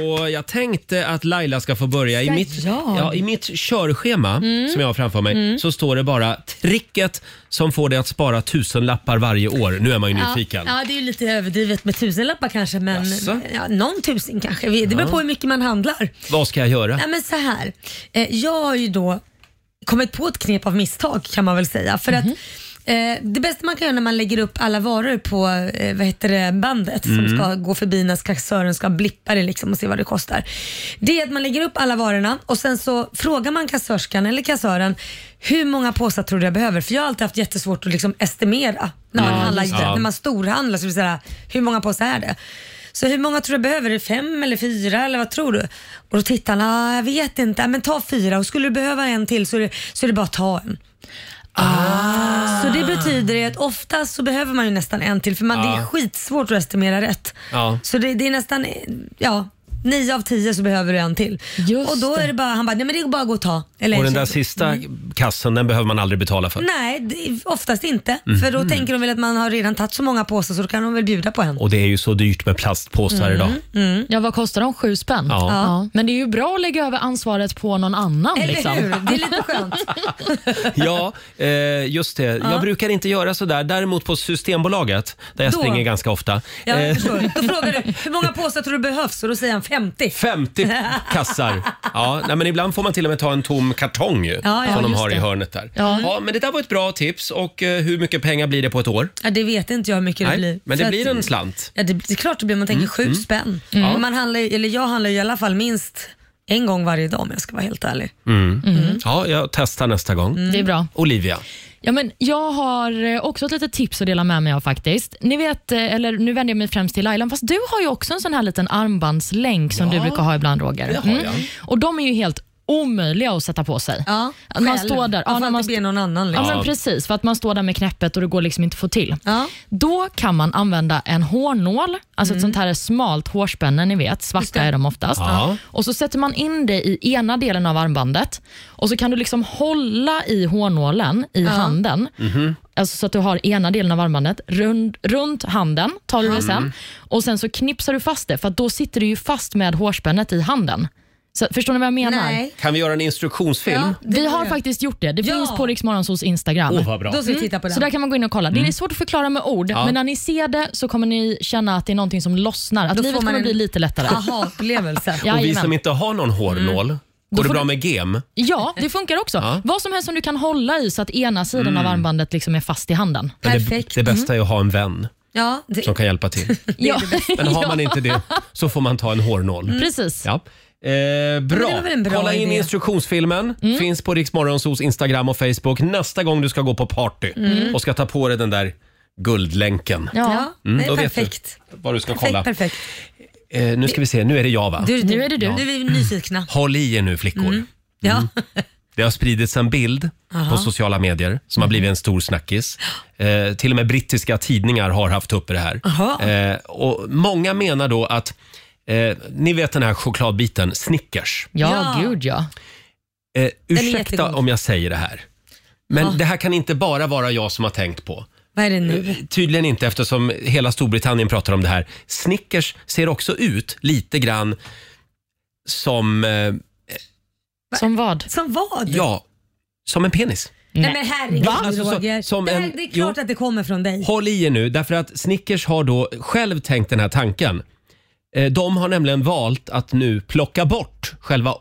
A: Och jag tänkte att Laila ska få börja. I
K: Ska
A: mitt,
K: jag?
A: ja, I mitt körschema
K: Mm.
A: som jag har framför mig
F: Mm.
A: så står det bara tricket som får dig att spara tusenlappar varje år. Nu är man ju nyfiken.
B: Ja, ja, det är ju lite överdrivet med tusenlappar kanske, men
A: Jaså?
B: ja, någon tusen kanske. Det beror
A: Ja.
B: på hur mycket man handlar.
A: Vad ska jag göra?
B: Nej, men så här. Eh, Jag har ju då kommit på ett knep av misstag kan man väl säga. För att eh, det bästa man kan göra när man lägger upp alla varor på eh, vad heter det, bandet
K: Mm.
B: som ska gå förbi när kassören ska blippa det liksom och se vad det kostar. Det är att man lägger upp alla varorna och sen så frågar man kassörskan eller kassören hur många påsar tror du jag behöver? För jag har alltid haft jättesvårt att liksom estimera när man,
K: Ja,
B: handlar,
K: just det.
B: när man storhandlar. Så vill säga, hur många påsar är det? Så hur många tror du behöver? Är det fem eller fyra eller vad tror du? Och då tittar han, ah, jag vet inte, men ta fyra och skulle du behöva en till så är det, så är det bara att ta en.
A: Ah.
B: Ah. Så det betyder ju att oftast så behöver man ju nästan en till för man, det
A: Ja.
B: är skitsvårt att estimera rätt.
A: Ja.
B: Så det, det är nästan, ja, nio av tio så behöver du en till. och då är det bara, han bara, nej men det är bara att gå och ta. Eller
A: Och den
B: en
A: där
B: till."
A: sista kassen, den behöver man aldrig betala för.
B: Nej, det, oftast inte.
A: Mhm.
B: För då tänker de väl att man har redan tagit så många påsar så då kan de väl bjuda på en.
A: Och det är ju så dyrt med plastpåsar idag.
B: Mm.
F: Ja, vad kostar de? Sju spänn?
A: Ja. Ja.
F: Men det är ju bra att lägga över ansvaret på någon annan.
B: Eller
F: liksom.
B: hur? Det är lite skönt.
A: Ja, eh, just det. Jag brukar inte göra sådär. Däremot på Systembolaget, där jag
B: Då-
A: springer ganska ofta.
B: Ja,
A: eh,
B: jag förstår. Då frågar du hur många påsar tror du behövs och då säger han 50.
A: 50
B: *laughs*
A: kassar. Ja, nej, men ibland får man till och med ta en tom kartong ju,
B: Ja, ja,
A: som de
B: just
A: har i
B: det.
A: hörnet där. Ja.
B: Ja.
A: men det där var ett bra tips. Och eh, hur mycket pengar blir det på ett år?
B: Ja, det vet inte jag hur mycket det blir.
A: men det
B: För
A: blir
B: att-
A: en slant.
B: Ja, det, det är klart det blir. Man tänker
A: Mm,
B: sju
A: mm.
B: spänn.
A: Mm.
B: Men Man handlar, ju- eller jag handlar ju i alla fall minst en gång varje dag om jag ska vara helt ärlig.
A: Mm.
F: Mm.
A: Ja, jag testar nästa gång.
F: Mm. Det är bra.
A: Olivia.
F: Ja, men jag har eh, också ett litet tips att dela med mig av faktiskt. Ni vet, eh, eller nu vänder jag mig främst till Laila, fast du har ju också en sån här liten armbandslänk som
K: Ja,
F: du brukar ha ibland Roger. Mm.
K: det har jag.
F: Och de är ju helt omöjliga att sätta på sig.
B: Ja,
F: man
B: själv.
F: står där.
B: Man får
F: när
B: inte be någon annan.
F: Ja,
B: Liksom.
F: men precis, för att man står där med knäppet och det går liksom inte att få till. Då kan man använda en hårnål, alltså ett sånt här smalt hårspänne, ni vet, svarta är de oftast.
K: Ja.
F: Och så sätter man in det i ena delen av armbandet och så kan du liksom hålla i hårnålen i
K: Ja.
F: handen.
A: Mhm.
F: Alltså så att du har ena delen av armbandet rund, runt handen, tar du det
K: Mm.
F: sen och sen så knipsar du fast det för att då sitter du ju fast med hårspännet i handen. Så, förstår ni vad jag menar?
A: Kan vi göra en instruktionsfilm?
F: Vi har faktiskt gjort det. Det finns på Rix Morgonzoos Instagram.
A: Åh, vad bra. Då ska vi
F: Mm.
A: titta på den.
F: Så där kan man gå in och kolla. Det
A: Mm.
F: är svårt att förklara med ord,
A: Ja.
F: men när ni ser det så kommer ni känna att det är någonting som lossnar. Att
B: Då får
F: livet
B: man
F: kommer
B: en-
F: bli lite lättare. *laughs*
B: Aha-upplevelse.
A: Och vi
F: Jajamän.
A: som inte har någon hårnål,
B: Mm.
A: går
F: Då
A: det
F: får
A: bra
F: du-
A: med gem?
F: Ja, det funkar också.
A: Ja.
F: Vad som helst som du kan hålla i så att ena sidan
A: Mm.
F: av armbandet liksom är fast i handen.
A: Men Det, det bästa är att ha en vän
B: Ja, det,
A: som kan hjälpa till.
F: ja. *laughs*
B: Mm.
A: Men har man inte det så får man ta en hårnål.
F: Mm. Precis.
A: Ja. Eh,
F: det
A: bra.
F: var väl en bra
A: Kolla in
F: idé.
A: instruktionsfilmen. Finns på Riksmorgonsos Instagram och Facebook. Nästa gång du ska gå på party
B: Mm.
A: och ska ta på dig den där guldlänken. Mm,
B: Ja,
F: Mm.
B: det är
A: då vet
B: perfekt.
A: du vad du ska
B: Perfekt,
A: kolla.
B: perfekt.
A: Eh, nu ska vi se, nu är det jag va?
B: Du,
F: nu är det du.
B: Nu är vi nyfikna.
A: Håll i er nu flickor.
B: Mm. Ja.
A: Det har spridits en bild
B: Aha.
A: på sociala medier som har blivit en stor snackis. Eh, till och med brittiska tidningar har haft uppe det här.
K: Aha.
A: Eh, och många menar då att, eh, ni vet den här chokladbiten, Snickers.
F: Ja, gud ja.
A: Eh,
F: Den är
A: ursäkta
F: jättegod.
A: om jag säger det här, men
F: Ja.
A: det här kan inte bara vara jag som har tänkt på.
B: Vad är det nu?
A: Tydligen inte eftersom hela Storbritannien pratar om det här. Snickers ser också ut lite grann som, eh,
F: Som vad?
B: Som vad?
A: ja, som en penis.
B: Nej, men herregud
A: Va? Alltså, så-
B: Roger.
A: som
B: det, här-
A: en-
B: det är klart
A: jo.
B: att det kommer från dig.
A: Håll i er nu, därför att Snickers har då själv tänkt den här tanken. Eh, De har nämligen valt att nu plocka bort själva,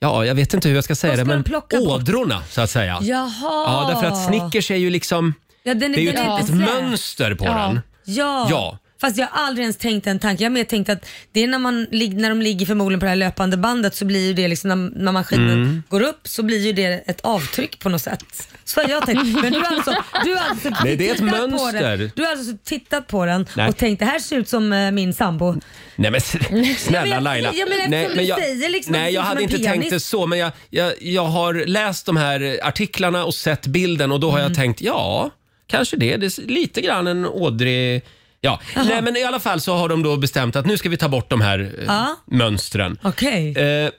A: ja jag vet inte hur jag ska säga det, men ådrorna så att säga.
B: Jaha.
A: Ja, därför att Snickers är ju liksom,
B: Ja, den,
A: det är ju
B: den
A: ett, ett
B: inte slät.
A: mönster på
B: ja.
A: den.
B: Ja.
A: Ja,
B: Fast jag har aldrig ens tänkt den tanken. Jag har mer tänkt att det är när, man, lig- när de ligger förmodligen på det här löpande bandet så blir ju det liksom när, när maskinen
A: Mm.
B: går upp så blir ju det ett avtryck på något sätt. Så har jag tänkt. Men du har alltså, du har alltså
A: *laughs* Nej, det är ett
B: tittat på
A: mönster.
B: den. Du har alltså tittat på den
A: Nej.
B: och tänkt det här ser ut som eh, min sambo.
A: Nej men
B: *laughs*
A: s- snälla
B: men-
A: Laila.
B: ja, men eftersom
A: nej,
B: du säger liksom att det
A: nej
B: ser
A: jag
B: ut som
A: hade
B: en
A: inte
B: penis.
A: tänkt det så men jag, jag, jag har läst de här artiklarna och sett bilden och då har
B: Mm.
A: jag tänkt ja, kanske det. det är lite grann en ådrig... Ja. Nej men i alla fall så har de då bestämt att nu ska vi ta bort de här eh,
B: Ja.
A: mönstren.
B: Okej.
A: Eh,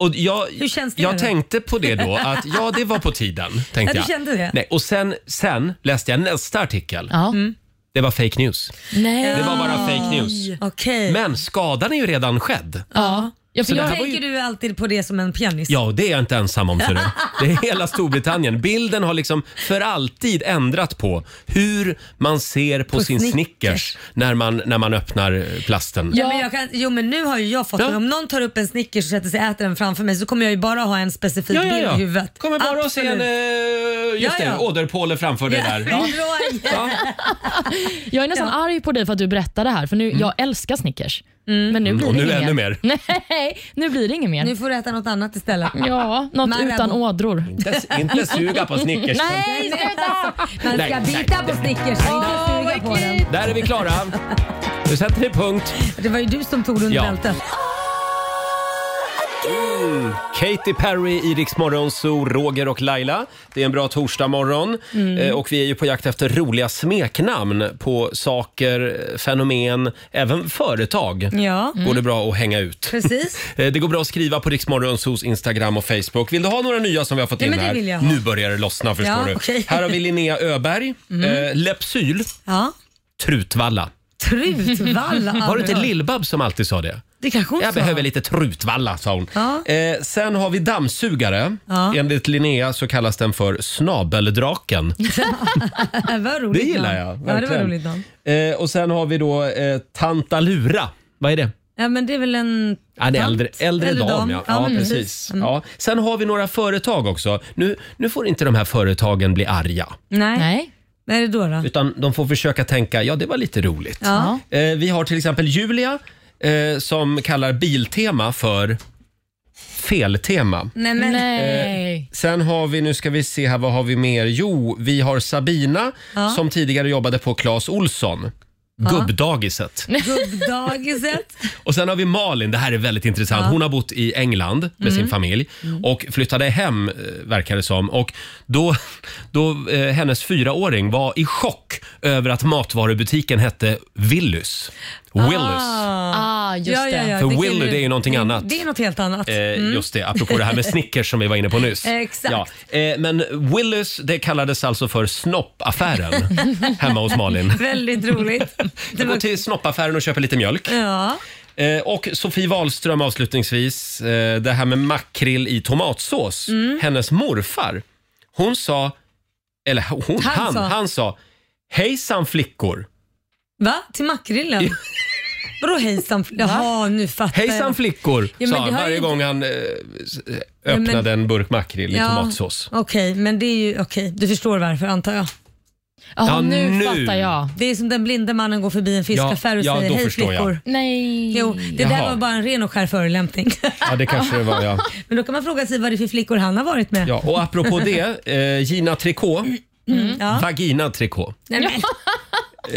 A: och jag,
B: Hur känns det
A: jag
B: då?
A: tänkte på det då att ja det var på tiden. Tänkte
B: *laughs* Ja, du
A: jag.
B: kände det?
A: Nej, och sen, sen läste jag nästa artikel.
B: Mm.
A: Det var fake news.
F: Nej.
A: Det var bara fake news.
B: Okej.
A: Men skadan är ju redan skedd.
F: Ja. Ja,
A: Så
F: för
A: det
F: jag,
A: här var
B: Tänker du alltid på det som en pianist?
A: Ja, och det är jag inte ensam om. För det. det är hela Storbritannien. Bilden har liksom för alltid ändrat på hur man ser på,
B: På
A: sin Snickers,
B: Snickers.
A: när, man, när man öppnar eh, plasten.
B: Ja, men jag kan, jo men nu har ju jag fått
A: Ja.
B: det. Om någon tar upp en Snickers och sätter sig och äter den framför mig så kommer jag ju bara ha en specifik
A: Ja, ja,
B: bild
A: ja.
B: i huvudet.
A: Kommer bara att se en,
B: Absolut.
A: eh, just det,
B: Ja, ja.
A: åderpåle framför dig där. Ja.
B: Bra, ja.
F: jag är nästan arg på dig för att du berättar det här, för nu, jag älskar Snickers. Men nu
A: Mm,
F: blir
A: och
F: det
A: nu
F: inget
A: ännu mer.
F: mer. *laughs* Nej, nu blir det inget mer.
B: Nu får du äta något annat istället.
A: Mm.
F: Ja, något
B: Marabou.
F: utan ådror.
A: Inte, inte suga på Snickers.
F: Nej, sluta!
B: alltså, Man
A: Nej,
B: ska
A: nej.
B: bita på Snickers, inte suga på den.
A: Där är vi klara. Nu sätter vi punkt.
B: Det var ju du som tog den under
A: Ja.
B: bältet.
A: Katy Perry i Rix Morgon Zoo, Roger och Laila. Det är en bra torsdagmorgon
B: Mm.
A: Eh, och vi är ju på jakt efter roliga smeknamn på saker, fenomen, även företag.
B: Ja.
A: Går det bra att hänga ut?
B: Mm. Precis.
A: Eh, Det går bra att skriva på Rix Morgon Zoos Instagram och Facebook. Vill du ha några nya som vi har fått
B: Ja,
A: in
B: men det
A: här?
B: vill jag ha.
A: Nu börjar det lossna förstår
B: Ja,
A: du.
B: okej. Mm.
A: Här har vi Linnea Öberg, eh, Lepsyl,
B: Ja.
A: Trutvalla. *laughs*
B: Trutvalla.
A: Var det inte Lill-Babs som alltid sa det?
B: alltså. Det kanske hon
A: Jag
B: sa. *laughs*
A: behöver lite trutvalla, sa hon.
B: Ja.
A: Eh, sen har vi dammsugare.
B: Ja.
A: Enligt Linnea så kallas den för snabeldraken.
B: Det
A: Det
B: var roligt
A: gillar
B: namn.
A: jag.
B: Ja, det var
A: verkligen.
B: roligt namn.
A: Eh, och sen har vi då eh, tantalura. Vad är det?
B: Ja, men det är väl en...
A: Ja, det är
B: tant?
A: äldre, äldre, dam, ja. ja
B: men Mm.
A: precis. Ja. Sen har vi några företag också. Nu, nu får inte de här företagen bli arga,
B: Nej.
F: Nej.
B: Vad är det då? då?
A: utan de får försöka tänka, ja det var lite roligt.
B: Ja.
A: Eh, vi har till exempel Julia eh, som kallar Biltema för Feltema.
B: Nej, men...
F: Nej.
A: Sen har vi, nu ska vi se här, vad har vi mer? Jo, vi har Sabina
B: Ja.
A: som tidigare jobbade på Clas Olsson. Gubbdagiset.
B: Gubbdagiset.
A: Och sen har vi Malin, det här är väldigt intressant. Hon har bott i England med sin familj och flyttade hem eh, verkar det som. Och då, *laughs* då eh, hennes fyraåring var i chock över att matvarubutiken hette Willys. Willys.
F: Ah, just
B: ja,
F: det.
B: ja, ja.
A: För
B: det kan
A: Willy,
B: ju-
A: det är ju någonting annat.
B: Det är något helt annat. Mm.
A: Eh, Just det, apropå det här
B: *laughs*
A: med Snickers som vi var inne på nyss.
B: Exakt.
A: Ja. Eh, men Willys, det kallades alltså för snoppaffären
B: *laughs*
A: hemma hos Malin. *laughs*
B: Väldigt roligt.
A: Jag går till snoppaffären och köper lite mjölk.
B: Ja.
A: Eh, och Sofie Wahlström avslutningsvis, eh, det här med makrill i tomatsås.
B: Mm.
A: Hennes morfar, hon sa, eller hon, han,
B: Han
A: han,
B: sa.
A: sa, hejsan flickor,
B: Va? Till makrillen? Vadå hejsan? Jaha, nu fattar
A: hejsan
B: jag.
A: flickor,
B: men
A: sa
B: det
A: han
B: har
A: varje
B: ju inte-
A: gång han eh, s- eh, öppnade en burk makrill i tomatsås.
B: Okej, men det är ju okej. Du förstår varför antar jag.
F: Jaha,
A: Ja,
F: nu,
A: nu.
F: fattar jag.
B: Det är som den blinde mannen går förbi en fiskaffär och
A: Ja, ja,
B: säger
A: då
B: hej
A: förstår jag.
B: flickor.
F: Nej.
B: Jo, det
A: Jaha.
B: där var bara en ren och skär förolämpning. *laughs*
A: Ja, det kanske det var, ja.
B: men då kan man fråga sig vad det är för flickor han har varit med.
A: ja och apropå det, eh, Gina Tricot,
B: Mm. Ja.
A: vagina Tricot,
B: Nej, men,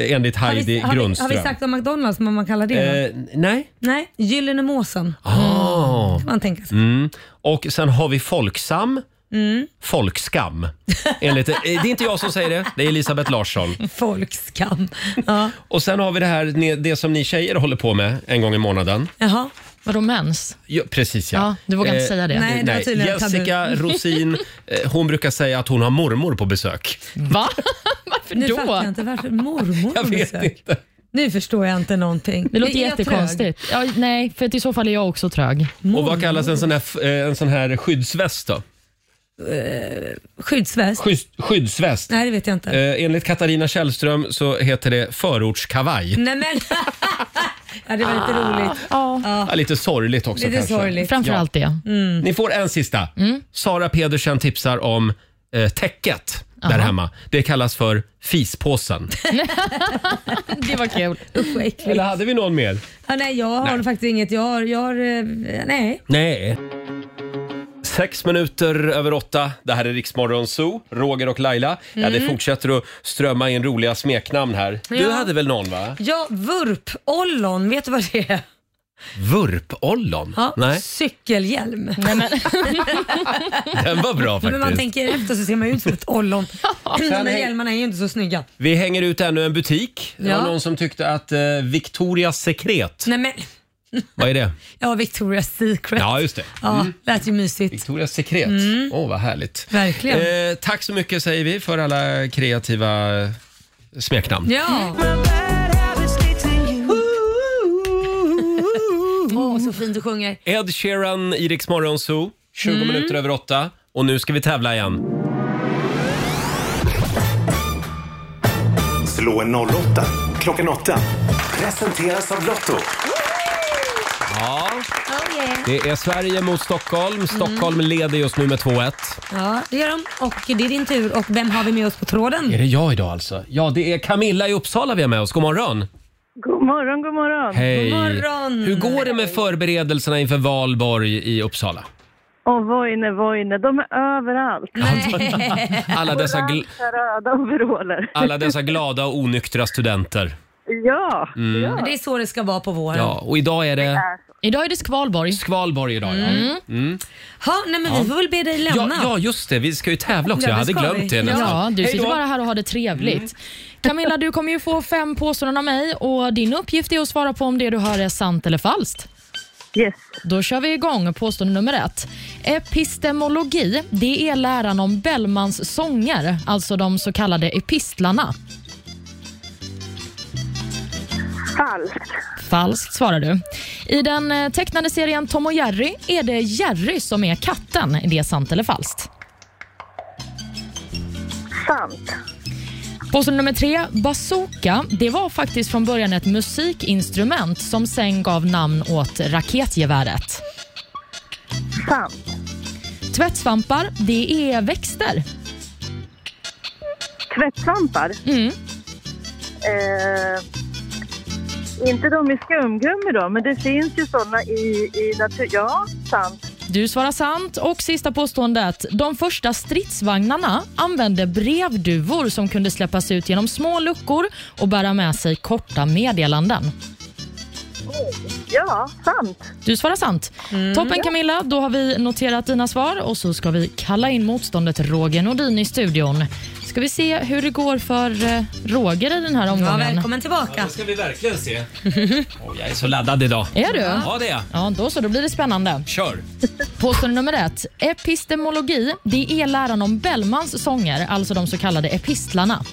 A: eh, enligt
B: har, vi,
A: Heidi
B: har, vi, har
A: Grundström.
B: vi sagt om McDonalds vad man kallar det? då?
A: eh, nej?
B: Nej, Gyllene Måsen
A: Ah.
B: kan man tänka sig.
A: Mm. Och sen har vi Folksam.
B: Mm.
A: Folkskam. Enligt, eh, det är inte jag som säger det, det är Elisabeth Larsson.
B: Folkskam. Ja.
A: Och sen har vi det här ne- det som ni tjejer håller på med en gång i månaden.
B: Jaha.
F: Vadå mens?
A: Ja, precis ja.
F: Ja, du vågar inte
A: Eh,
F: säga det.
B: nej. det var tydligen
A: Jessica Rosin, eh, hon brukar säga att hon har mormor på besök.
F: Va?
B: *laughs*
F: Varför
B: Nu fattar jag
F: då?
B: inte varför mormor
A: *laughs* Jag
B: på
A: vet
B: besök.
A: inte.
B: Nu förstår jag inte någonting.
F: Det låter
B: Är jag
F: jättekonstigt. Ja, nej, för att i så fall är jag också trög.
A: Och vad kallas en sån här, f- eh, en sån här skyddsväst då?
B: trög? Skyddsväst?
A: Skydds, skyddsväst.
B: Nej, det vet jag inte.
A: Eh, enligt Katarina Källström så heter det förortskavaj.
B: Nej men. *laughs* ja, det var lite roligt.
A: Ja, lite sorgligt också
B: Lite
A: Ah, kanske. Mm.
B: sorgligt. Mm.
F: Framförallt det.
A: Ni får en sista. Sara Pedersen tipsar om eh, täcket. där hemma. Det kallas för
B: *laughs*
A: fispåsen.
F: det var kul.
B: Usch vad äckligt.
A: Eller hade vi någon mer?
B: Ja, nej, jag har faktiskt inget. Jag har, jag har eh, nej.
A: Nej. Sex minuter över åtta. Det här är Riksmorgon Zoo, Roger och Laila. Ja, det
B: Mm.
A: fortsätter att strömma in roliga smeknamn här. Du
B: Ja.
A: hade väl någon va?
B: Ja, vurpollon, vet du vad det är?
A: Vurpollon?
B: Ja,
A: Nej,
B: Cykelhjälm.
A: den var
B: *laughs*
A: bra
B: Men man
A: faktiskt.
B: tänker efter så ser man ju ut som ett
A: *laughs*
B: ollon. De
A: Sen
B: här
A: häng-
B: hjälmarna är ju inte så snygga.
A: Vi hänger ut ännu en butik. Det
B: Ja.
A: var någon som tyckte att eh, Victorias Secret,
B: Nej men,
A: vad är
B: *laughs*
A: det?
B: ja Victoria's Secret.
A: Ja, just det.
B: Ja,
A: Mm.
B: lät ju mysigt.
A: Victorias sekret. Åh,
B: Mm.
A: vad härligt.
B: Verkligen.
A: Eh, tack så mycket säger vi för alla kreativa eh, smeknamn.
B: Ja. Åh, så fint du sjunger.
A: Ed Sheeran, i Rix Morgon Zoo, 20
B: Mm.
A: minuter över åtta. Och nu ska vi tävla igen.
G: Slå en 08 klockan 8. Presenteras av Lotto.
A: Ja,
B: Oh,
A: det är Sverige mot
B: Mm.
A: Stockholm. Stockholm leder just nu med 2-1.
B: Ja, det gör de. Och det är din tur. Och vem har vi med oss på tråden?
A: Är det jag idag alltså? Ja, det är Camilla i Uppsala vi har med oss. God morgon!
K: God morgon, god morgon.
A: Hej! Hur går det med förberedelserna inför valborg i Uppsala?
K: Och Voine, Voine, de är överallt.
A: *laughs* Alla dessa, gl-
K: Röda overaller.
A: alla dessa glada och onyktra studenter.
K: Ja.
A: Mm.
B: Men Det är så det ska vara på våren.
A: Ja, och idag är det
F: Idag är det skvalborg.
A: Skvalborg idag, ja.
F: Mm.
A: Mm.
B: Ha, nej men
A: Ja.
B: vi får väl be dig
A: Ja,
B: lämna.
A: ja, just det. Vi ska ju tävla också.
B: Ja,
A: Jag
B: det
A: hade
B: ska vi.
A: glömt det nästan.
F: Ja, Mm. du
A: Hej
F: sitter
A: då.
F: bara här och har det trevligt. Camilla, du kommer ju få fem påståenden av mig och din uppgift är att svara på om det du hör är sant eller falskt.
K: Yes.
F: Då kör vi igång påstående nummer ett. Epistemologi, det är läran om Bellmans sånger, alltså de så kallade epistlarna.
K: Falskt.
F: Falskt svarar du. I den eh, tecknade serien Tom och Jerry är det Jerry som är katten. Är det sant eller falskt?
K: Sant.
F: Påstående nummer tre. Bazooka det var faktiskt från början ett musikinstrument som sen gav namn åt raketgeväret.
K: Sant.
F: Tvättsvampar det är växter.
K: Tvättsvampar.
F: Mm.
K: Eh, inte de i skumgummi då, men det finns ju sådana i, i natur... Ja, sant.
F: Du svarar sant. Och sista påståendet. De första stridsvagnarna använde brevduvor som kunde släppas ut genom små luckor och bära med sig korta meddelanden.
K: Ja, sant.
F: Du svarar sant. Toppen Camilla, då har vi noterat dina svar och så ska vi kalla in motståndet Roger Nordin i studion. Ska vi se hur det går för eh, Roger i den här omgången.
B: välkommen tillbaka.
A: ska vi verkligen
F: *laughs*
A: se. Åh, jag är så laddad idag.
F: Är du?
A: Ja, det är jag.
F: Ja, då så. Då blir det spännande.
A: Kör!
F: Påstående nummer ett. Epistemologi, det är läran om Bellmans sånger, alltså de så kallade epistlarna.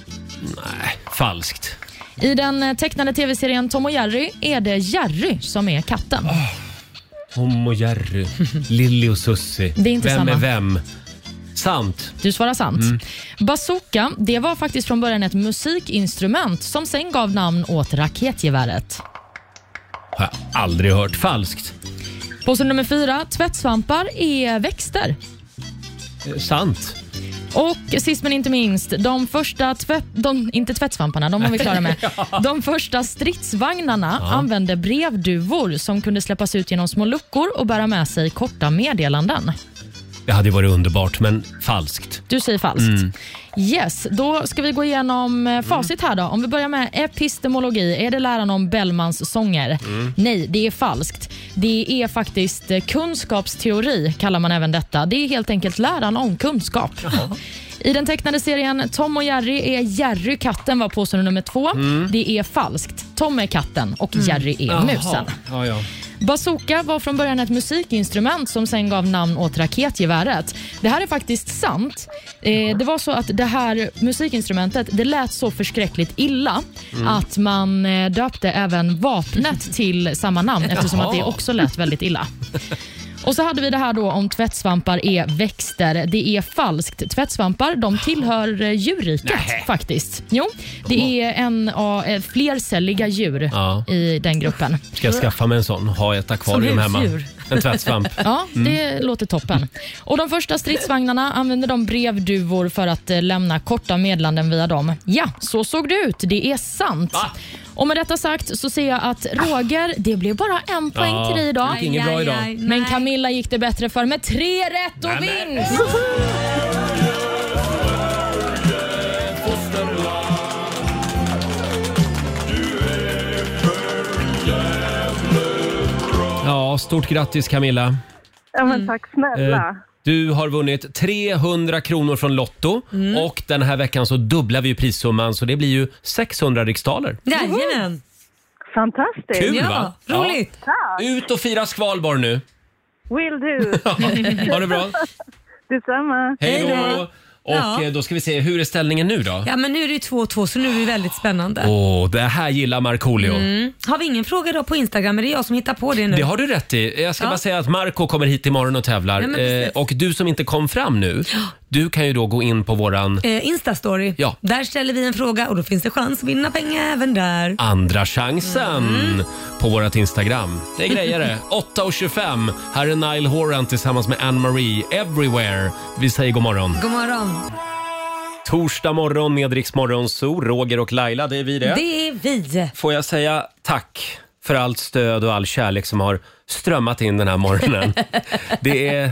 A: Nej, falskt.
F: I den eh, tecknade tv-serien Tom och Jerry är det Jerry som är katten.
A: Tom och
F: *laughs*
A: Jerry, Lilly och Sussi.
F: Det är inte
A: vem
F: samma.
A: är vem? Sant.
F: Du svarar sant.
A: Mm.
F: Bazooka det var faktiskt från början ett musikinstrument som sen gav namn åt raketgeväret.
A: Har jag aldrig hört. Falskt.
F: Påse nummer fyra. Tvättsvampar är växter.
A: Eh, Sant.
F: Och sist men inte minst, de första tvätt... De, inte tvättsvamparna, de var vi klara med. De första stridsvagnarna
A: Ja.
F: använde brevduvor som kunde släppas ut genom små luckor och bära med sig korta meddelanden.
A: Det hade ju varit underbart, men falskt.
F: Du säger falskt.
A: Mm.
F: Yes, då ska vi gå igenom eh, facit här då. Om vi börjar med epistemologi. Är det läran om Bellmans sånger?
L: Mm.
F: Nej, det är falskt. Det är faktiskt eh, kunskapsteori, kallar man även detta. Det är helt enkelt läran om kunskap. I den tecknade serien Tom och Jerry är Jerry katten, var påstående nummer två.
A: Mm.
F: Det är falskt. Tom är katten och Jerry är
A: Jaha.
F: musen.
A: Ja, ja.
F: Bazooka var från början ett musikinstrument som sen gav namn åt raketgeväret. Det här är faktiskt sant. Eh, det var så att det här musikinstrumentet det lät så förskräckligt illa
L: Mm.
F: att man
L: *laughs*
F: eh, döpte även vapnet till samma namn eftersom att det
L: Jaha.
F: också lät väldigt illa. Och så hade vi det här då om tvättsvampar är växter. Det är falskt. Tvättsvampar de tillhör eh, djurriket
L: Nähä.
F: faktiskt. Jo, det är en av eh, flercelliga djur
A: Ja.
F: i den gruppen.
A: Ska jag skaffa mig en sån? Ha i ett akvarium hemma.
F: husdjur.
A: En tvättsvamp.
F: Ja, det
A: Mm.
F: låter toppen. Och De första stridsvagnarna använde de brevduvor för att eh, lämna korta meddelanden via dem. Ja, så såg det ut. Det är sant.
A: Ah,
F: Och Med detta sagt så ser jag att Roger, det blev bara en poäng
L: Ja,
F: till dig idag.
L: det gick inget bra Aj, aj, idag. aj,
F: Men Camilla gick det bättre för med tre rätt och vinst.
A: Ja, stort grattis Camilla.
K: Ja, men tack snälla.
A: Eh, Du har vunnit 300 kronor från Lotto och den här veckan så dubblar vi ju prissumman så det blir ju 600 riksdaler.
B: Jajamän.
K: Fantastiskt.
A: Kul, va? Ja. roligt.
K: Tack.
A: Ut och fira Skvalborg nu! *laughs*
K: Will
E: *laughs*
K: do.
A: Ha det bra.
K: Detsamma.
A: Hej då! Och
B: Ja.
A: eh, då ska vi se, hur är ställningen nu då?
B: Ja men nu är det ju 2-2 så nu är det väldigt spännande.
A: Åh, det här gillar Markoolio.
B: Mm. Har vi ingen fråga då på Instagram? Är det jag som hittar på det nu?
A: Det har du rätt i. Jag ska
B: Ja.
A: bara säga att Marco kommer hit imorgon och tävlar.
B: Ja, men
A: eh,
B: precis.
A: och du som inte kom fram nu, du kan ju då gå in på våran
B: Eh, Instastory.
A: Ja.
B: Där ställer vi en fråga och då finns det chans att vinna pengar även där.
A: Andra chansen
B: Mm.
A: på vårt Instagram. Det är grejer
B: *laughs*
A: det. 8.25. Här är Nile Horan tillsammans med Anne-Marie Everywhere. Vi säger god morgon.
B: God morgon.
A: Torsdag morgon med Rix Morgon Zoo. Roger och Laila, det är vi det.
B: Det är vi.
A: Får jag säga tack för allt stöd och all kärlek som har strömmat in den här
B: *laughs*
A: morgonen. det, är,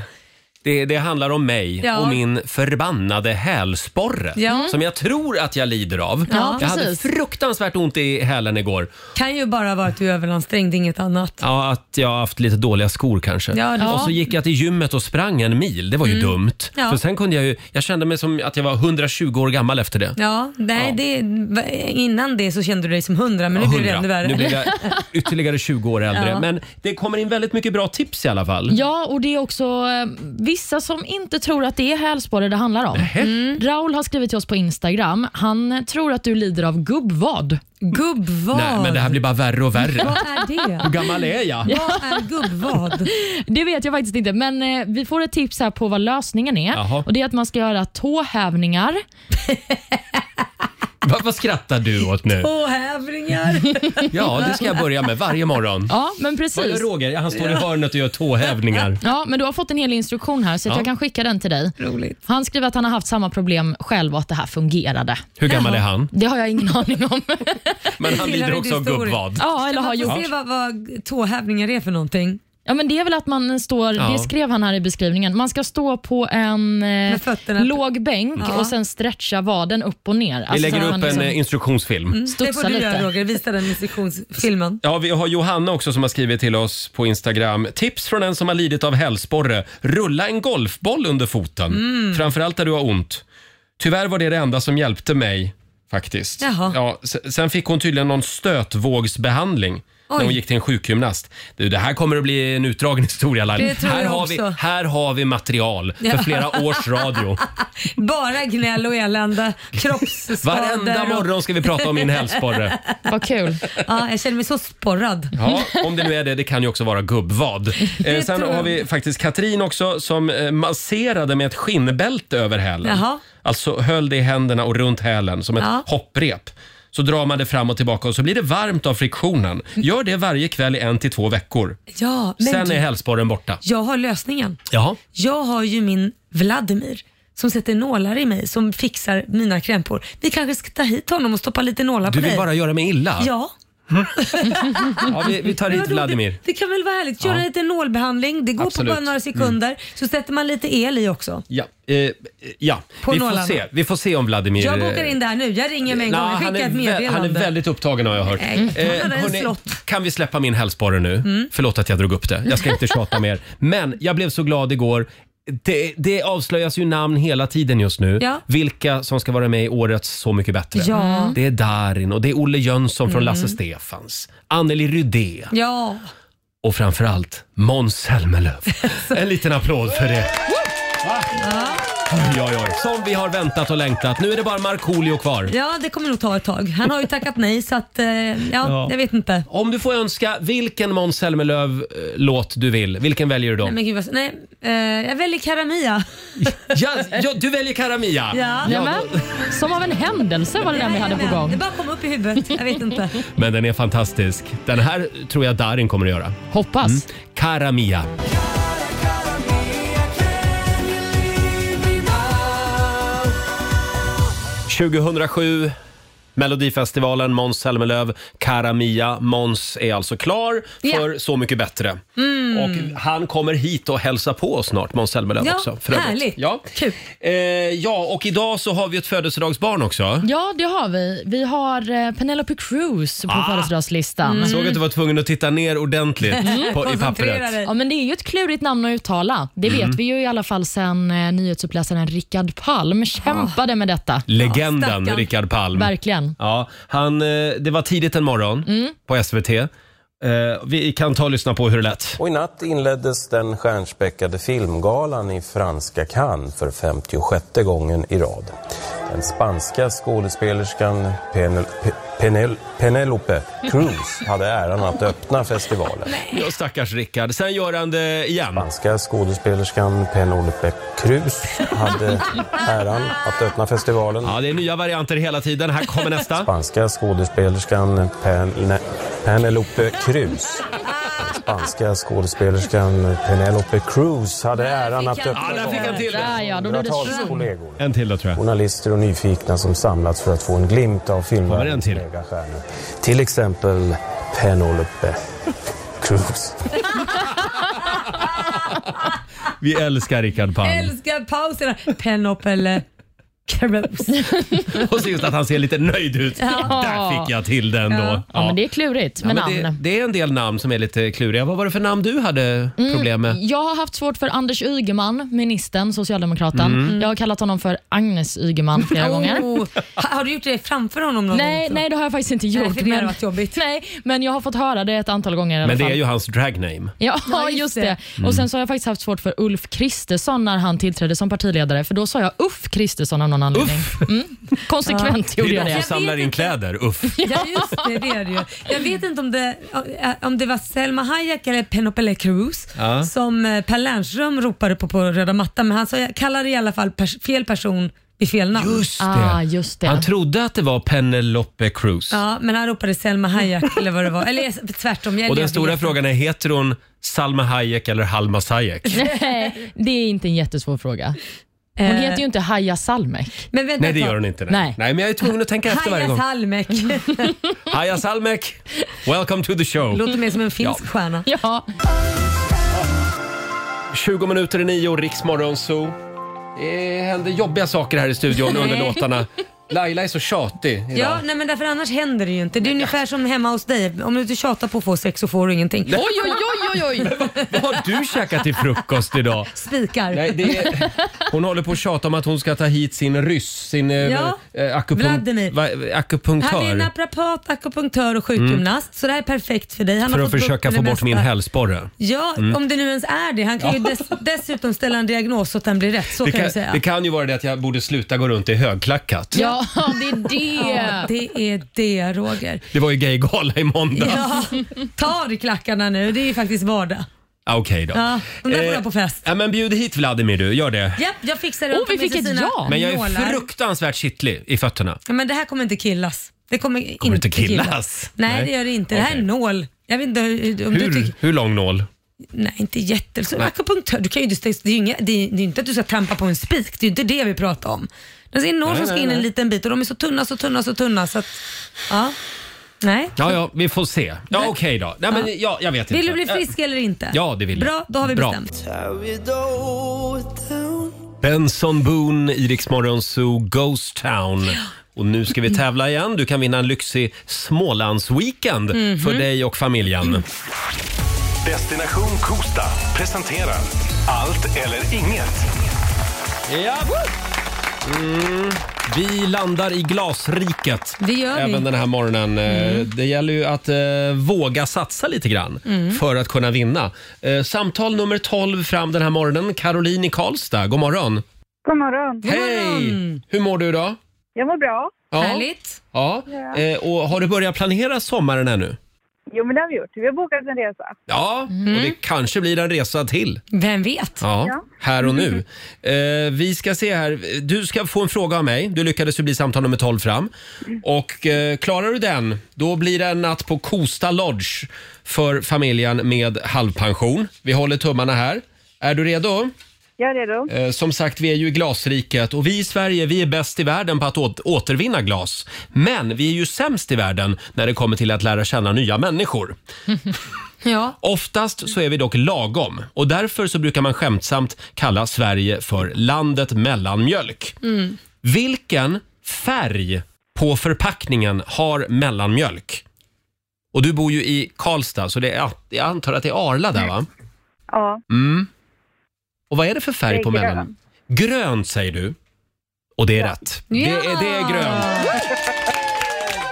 A: det, det handlar om mig
L: Ja.
A: och min förbannade hälsporre
B: Ja. Mm.
A: som jag tror att jag lider av.
B: Ja,
A: jag hade
B: precis.
A: fruktansvärt ont i hälen igår.
B: Kan ju bara vara att du är överansträngd, inget annat.
A: Ja, att jag har haft lite dåliga skor kanske.
B: Ja, det-
A: Och så
B: Ja.
A: gick jag till gymmet och sprang en mil. Det var ju
B: Mm.
A: dumt.
B: Ja.
A: För sen kunde jag ju, jag kände mig som att jag var 120 år gammal efter det.
B: Ja, nej, Det, va- innan det så kände du dig som 100 men nu blir det
A: 100.
B: ännu värre.
A: Nu blir jag ytterligare 20 år
B: *laughs*
A: äldre.
F: Ja.
A: Men det kommer in väldigt mycket bra tips i alla fall.
F: Ja, och det är också eh, vissa som inte tror att det är hälsporre det handlar om. Mm. Raul har skrivit till oss på Instagram. Han tror att du lider av gubbvad.
B: Gubbvad?
A: Nej, men det här blir bara värre och värre.
F: Vad är det? *laughs*
A: Hur gammal är jag?
B: Vad är gubbvad?
F: Det vet jag faktiskt inte, men eh, vi får ett tips här på vad lösningen är.
A: Jaha.
F: Och Det är att man ska göra tåhävningar.
A: Vad, vad skrattar du åt nu?
B: Tåhävningar.
A: Ja, det ska jag börja med varje morgon.
F: Ja, men
A: Vad gör
F: precis.
A: Roger? Ja, Han står i
F: Ja.
A: hörnet och gör tåhävningar.
F: Ja, men du har fått en hel instruktion här så att
A: Ja.
F: jag kan skicka den till dig.
B: Roligt.
F: Han skriver att han har haft samma problem själv och att det här fungerade.
A: Hur gammal är han?
F: Det har jag ingen *laughs* aning om.
A: Men han
B: Tillhör
A: lider också av
B: din story.
A: gubbvad.
F: Ja, eller
B: Kan
F: har
B: man få
F: gjort.
B: se vad, vad tåhävningar är för någonting?
F: Ja, men det är väl att man står,
B: Ja.
F: det skrev han här i beskrivningen, man ska stå på en eh, låg bänk
B: Ja.
F: och sen stretcha vaden upp och ner.
A: Vi
F: Alltså,
A: lägger
F: så
A: upp
F: man
A: en
F: liksom-
A: eh, instruktionsfilm.
B: Mm, det får
F: Studsa
B: du göra
F: lite.
B: Roger, visa den instruktionsfilmen.
A: Ja, vi har Johanna också som har skrivit till oss på Instagram. Tips från en som har lidit av hälsporre. Rulla en golfboll under foten.
B: Mm.
A: Framförallt där du har ont. Tyvärr var det det enda som hjälpte mig faktiskt.
B: Jaha.
A: Ja, se- sen fick hon tydligen någon stötvågsbehandling när
B: Oj.
A: hon gick till en sjukgymnast. Du, det här kommer att bli en utdragen *laughs* historia Laila.
B: Det tror
A: Här,
B: jag
A: har vi-
B: också.
A: här har vi material för
B: Ja.
A: flera års
B: *laughs*
A: radio.
B: Bara gnäll och elände, kroppsskador.
A: Varenda
B: och-
A: morgon ska vi prata om min hälsporre.
F: Vad kul.
B: Ja, jag känner mig så sporrad. *laughs*
A: Ja, om det nu är det. Det kan ju också vara gubbvad. Eh, sen
B: tror jag.
A: har vi faktiskt Katrin också som eh, masserade med ett skinnbälte över hälen.
B: Jaha.
A: Alltså höll det i händerna och runt hälen som ett
B: Ja.
A: hopprep. Så drar man det fram och tillbaka och så blir det varmt av friktionen. Gör det varje kväll i en till två veckor.
B: Ja, men
A: sen
B: du,
A: är hälsporren borta.
B: jag har lösningen.
A: Jaha.
B: Jag har ju min Vladimir som sätter nålar i mig som fixar mina krämpor. Vi kanske ska ta hit honom och stoppa lite nålar
A: Du
B: på dig.
A: vill bara göra mig illa?
B: Ja.
A: Ja, vi, vi tar
B: Men
A: hit
B: vadå,
A: Vladimir.
B: Det, det kan väl vara härligt? Köra
A: Ja.
B: lite nålbehandling. Det går
A: Absolut. Mm.
B: på bara några sekunder. Så sätter man lite el i också.
A: Ja, eh, ja.
B: På
A: vi får
B: nålarna.
A: se. Vi får se om Vladimir...
B: Jag bokar in det här nu. Jag ringer med en
A: Nå,
B: gång. Jag
A: han,
B: skickar
A: är
B: ett
A: vä-
B: meddelande.
A: han är väldigt upptagen har jag hört.
B: Nej, han hade en slott.
A: Eh, kan vi släppa min hälsporre nu?
B: Mm.
A: Förlåt att jag drog upp det. Jag ska
B: *laughs*
A: inte tjata mer. Men jag blev så glad igår. Det, det avslöjas ju namn hela tiden just nu.
B: Ja.
A: Vilka som ska vara med i årets Så mycket bättre. Mm.
B: Ja.
A: Det är Darin och det är Olle Jönsson från
B: Mm.
A: Lasse Stefans Anneli Rydé
B: Ja.
A: och
B: *laughs*
A: framförallt Måns Zelmerlöw. En liten applåd för det.
B: Ja.
A: Oj, oj, oj. Som vi har väntat och längtat. Nu är det bara Markoolio kvar.
B: Ja, det kommer nog ta ett tag. Han har ju tackat nej så att, eh, ja,
A: Ja.
B: jag vet inte.
A: Om du får önska vilken Måns Zelmerlöw-låt du vill, vilken väljer du då?
B: Nej, men gud, vad, nej eh, jag väljer Karamia.
A: Ja, ja, du väljer Karamia!
B: Ja.
A: då-
F: Som av en händelse var det den vi hade på gång.
B: Det bara kom upp i huvudet. Jag
A: *laughs*
B: vet inte.
A: Men den är fantastisk. Den här tror jag Darin kommer att göra.
F: Hoppas.
A: Mm. Karamia.
L: Now.
A: 2007, Melodifestivalen, Måns Zelmerlöw, Karamia. Måns är alltså klar för Så mycket bättre.
B: Mm.
A: Och han kommer hit och hälsar på oss snart, Måns Zelmerlöw
F: Ja,
A: också. för övrigt.
F: härligt.
A: Ja.
B: Kul.
A: Eh, ja, och idag så har vi ett födelsedagsbarn också.
F: Ja, det har vi. Vi har eh, Penelope Cruz på
A: Ah.
F: födelsedagslistan.
A: Jag såg att du var tvungen att titta ner ordentligt
F: Mm.
A: på, i pappret.
F: Ja, men det är ju ett klurigt namn att uttala. Det
A: Mm.
F: vet vi ju i alla fall sen eh, nyhetsuppläsaren Rickard Palm kämpade med detta.
A: Ah. Legenden
F: Stackarn.
A: Rickard Palm.
F: Verkligen.
A: Ja, han, eh, det var tidigt en morgon
F: Mm.
A: på SVT. Eh, Vi kan ta och lyssna på hur det lät.
E: Och i natt inleddes den stjärnspäckade filmgalan i franska Cannes för 56 gången i rad. Den spanska skådespelerskan Penel, Pe- Penel, Penelope Cruz hade äran att öppna festivalen.
A: Ja, stackars Rickard. Sen gör han det igen.
E: Spanska skådespelerskan Penelope Cruz hade äran att öppna festivalen.
A: Ja, det är nya varianter hela tiden. Här kommer nästa.
F: *laughs*
E: Spanska skådespelerskan Pen- Penelope Cruz. Den spanska skådespelerskan Penelope Cruz hade äran att öppna
F: Där, ja, då blev det
E: Hundratals
F: slam.
E: kollegor.
A: En till då tror jag.
E: Journalister och nyfikna som samlats för att få en glimt av filmvärldens megastjärnor. Till exempel Penelope Cruz.
A: Vi älskar Rickard Palm.
B: Älskar pauserna. Penopelle Cruz.
A: Och så just att han ser lite nöjd ut.
F: Ja.
A: Där fick jag till den då.
F: Ja. men det är klurigt med
A: Ja,
F: namn.
A: men det, det är en del namn som är lite kluriga. Vad var det för namn du hade
F: Mm,
A: problem med?
F: Jag har haft svårt för Anders Ygeman, ministern, socialdemokraten.
A: Mm.
F: Jag har kallat honom för Agnes Ygeman
A: *laughs*
F: flera
B: Oh.
F: gånger.
B: Ha- Har du gjort det framför honom någon
F: Nej,
B: gång?
F: nej, det har jag faktiskt inte gjort.
B: Nej, för det hade
F: men,
B: varit
F: Nej, men jag har fått höra det ett antal gånger i alla
A: Men det
F: fall.
A: är ju hans dragname.
F: Ja, *laughs*
B: Ja, just
F: just
B: det.
F: det.
A: Mm.
F: Och Sen så har jag faktiskt haft svårt för Ulf Kristersson när han tillträdde som partiledare, för då sa jag Uff Kristersson av någon anledning. Mm.
B: *laughs*
F: Konsekvent
A: Det är
F: gjorde jag Ah,
A: de som
F: det.
A: samlar in kläder.
F: *laughs*
A: Uff.
B: Ja just det, det är det ju. Jag vet inte om det, eh, om det var Selma Hayek eller Penelope Cruz
A: Ja.
B: som eh, Per Lernström ropade på på röda mattan men han sa, kallade i alla fall pers- fel person vid fel namn.
A: Just det.
F: Ah,
A: Han trodde att det var Penelope Cruz.
B: Ja, men han ropade
A: *laughs*
B: Selma Hayek eller vad det var. Eller tvärtom. Jag
A: Och den
B: jag
A: stora
B: vet.
A: frågan är, heter hon Salma Hayek eller Halmas
B: *laughs*
A: Hayek?
F: Nej, *laughs* det är inte en jättesvår fråga. Hon
B: Eh.
F: heter ju inte Haja Salmek.
B: Men vänta
A: Nej, det
B: ett
A: gör
B: tag.
A: hon inte. Nej.
F: Nej.
A: men jag är tvungen att tänka efter varje
B: Hayek
A: gång.
B: Halmek.
A: Haja Salmek, welcome to the show.
B: *laughs* Låter mer som en finsk
A: Ja.
B: stjärna.
F: Ja.
A: 20 minuter i nio, Riksmorgon Zoo. Det händer jobbiga saker här i studion under
B: Nej.
A: låtarna. Laila är så tjatig idag.
B: Ja, nej men därför annars händer det ju inte. Det är ungefär som hemma hos dig. Om du inte tjatar på att få sex så får du ingenting.
A: Nej. Oj, oj,
F: oj, oj, oj.
A: Vad har du käkat till frukost idag?
B: Spikar.
A: Nej, det är- Hon håller på att tjata om att hon ska ta hit sin ryss, sin eh,
B: Ja,
A: eh, akupunk-
B: Vladimir.
A: va,
B: Han är
A: akupunktör.
B: naprapat, akupunktör och sjukgymnast, så det här är perfekt för dig. Han
A: Mm.
B: har
A: För att
B: fått bukt
A: försöka
B: med
A: få
B: det
A: bort min
B: mesta.
A: hälsporre.
B: Ja,
A: Mm.
B: om det nu ens är det. Han kan ju
A: Ja.
B: dess, dessutom ställa en diagnos så att den blir rätt. Så
A: Det
B: kan,
A: kan,
B: jag säga.
A: det kan ju vara det att jag borde sluta gå runt i högklackat.
F: Ja, det är det.
B: *laughs* Ja, det är det, Roger.
A: Det var ju gaygala i måndags.
B: Ja, ta av dig klackarna nu. Det är ju faktiskt vardag.
A: Ah, Okej då. Eh,
B: Ja, de där får jag på fest.
A: Ja, men bjöd hit Vladimir du, gör det.
B: Japp, jag fixar det.
F: Oh,
B: Han tar
F: vi
B: med
F: fick
B: sig
F: ett
B: sina
F: ja.
A: Men jag är
B: nålar.
A: fruktansvärt kittlig i fötterna.
B: Ja, Men det här kommer inte killas. Det kommer,
A: Kommer
B: inte
A: inte killas?
B: Nej,
A: Nej.
B: det gör det inte. Det här är
A: Okej.
B: nål. Jag vet inte hur, om du
A: Hur,
B: tycker...
A: hur lång nål?
B: Nej, inte jätte... Så
A: Nej.
B: akupunktör, du kan ju inte, det, är ju inga, det, är, det är inte att du ska trampa på en spik, det är ju inte det vi pratar om. Det är någon
A: Nej,
B: som ska
A: nej,
B: in
A: nej.
B: en liten bit och de är så tunna, så tunna, så tunna så att... Ja. Nej.
A: Ja, ja, vi får se. Ja, okej då. Nej, men,
B: Ja.
A: ja, jag vet
B: Vill
A: inte.
B: du bli frisk eller inte?
A: Ja, det vill jag.
B: Bra, då har vi
A: Bra.
B: bestämt.
A: Benson Boone, Iriks Morgonzoo, Ghost Town. Och nu ska vi tävla igen. Du kan vinna en lyxig Smålandsweekend
G: Mhm.
A: för dig och familjen.
G: Destination Kosta presenterar Allt eller inget.
A: Ja. Mm. Vi landar i glasriket
B: Det gör vi.
A: även den här morgonen. Eh, Det gäller ju att eh, våga satsa lite grann
B: Mm.
A: för att kunna vinna. Eh, samtal nummer 12 fram den här morgonen. Caroline i Karlstad, god morgon.
K: God morgon.
A: Hej! Hur mår du idag?
K: Jag mår bra.
A: Ja. Härligt. Ja. Eh, och har du börjat planera sommaren ännu?
K: Jo, men det har vi gjort. Vi har bokat en resa.
A: Ja, och
B: Mm.
A: det kanske blir en resa till.
B: Vem vet?
A: Ja,
K: Ja. Mm-hmm.
A: här och nu. Eh, vi ska se här. Du ska få en fråga av mig. Du lyckades ju bli samtal nummer 12 fram. Och eh, klarar du den, då blir det en natt på Kosta Lodge för familjen med halvpension. Vi håller tummarna här. Är du redo?
K: Jag är redo.
A: Eh, Som sagt, vi är ju i glasriket och vi i Sverige, vi är bäst i världen på att åt- återvinna glas. Men vi är ju sämst i världen när det kommer till att lära känna nya människor.
B: Ja.
A: Oftast så är vi dock lagom och därför så brukar man skämtsamt kalla Sverige för landet mellanmjölk.
B: Mm.
A: Vilken färg på förpackningen har mellanmjölk? Och du bor ju i Karlstad så det är, jag antar att det är Arla där va?
K: Ja.
A: Mm. Och vad är det för färg
K: Det är
A: på
K: grönt.
A: mellan? Grönt säger du. Och det är rätt. Det är, det är grönt.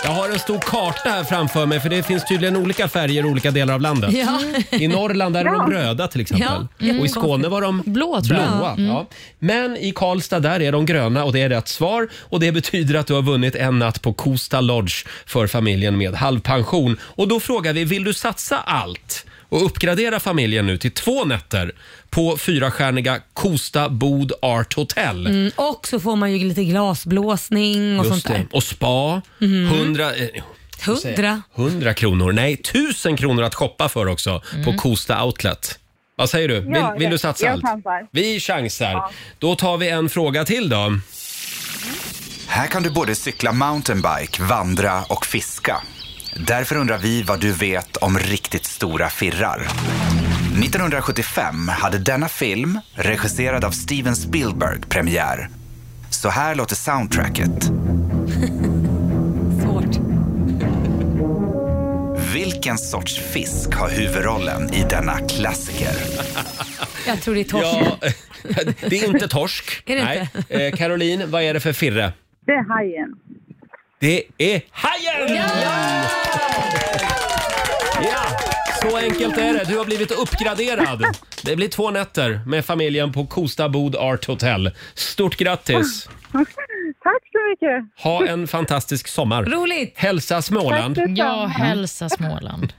A: Jag har en stor karta här framför mig för det finns tydligen olika färger i olika delar av landet.
B: Ja. Mm,
A: I Norrland där är de
B: Ja.
A: röda till exempel.
B: Ja, mm.
A: Och i Skåne var de
F: blå.
B: tror jag.
A: blåa.
B: Mm.
A: Ja. Men i Karlstad där är de gröna och det är rätt svar. Och det betyder att du har vunnit en natt på Kosta Lodge för familjen med halvpension. Och då frågar vi, vill du satsa allt och uppgradera familjen nu till två nätter på fyrastjärniga Kosta Bod Art Hotel?
B: Mm, och så får man ju lite glasblåsning och
A: Just
B: sånt där.
A: det. Och spa.
B: Mhm.
A: 100, eh, vad säger jag?
B: Hundra.
A: 100 kronor. Nej, 1000 kronor att shoppa för också på
B: Mm.
A: Kosta Outlet. Vad säger du? Vill,
K: Ja,
A: vill
K: jag-
A: du satsa
K: jag
A: allt?
K: chansar.
A: Vi chansar.
K: Ja.
A: Då tar vi en fråga till då.
L: Här kan du både cykla mountainbike, vandra och fiska. Därför undrar vi vad du vet om riktigt stora firrar. 1975 hade denna film, regisserad av Steven Spielberg, premiär. Så här låter soundtracket.
B: Svårt.
L: Vilken sorts fisk har huvudrollen i denna klassiker?
B: Jag tror det är torsk.
A: Ja, *laughs* det är inte torsk.
B: *laughs* Är det
A: Nej. Eh, Caroline, vad är det för firre?
K: Det är hajen.
A: Det är hajen! Ja, så enkelt är det. Du har blivit uppgraderad. Det blir två nätter med familjen på Kosta Bod Art Hotel. Stort grattis!
K: *laughs* Tack så mycket.
A: Ha en fantastisk sommar.
B: Roligt!
A: Hälsa Småland.
F: Ja, hälsa Småland.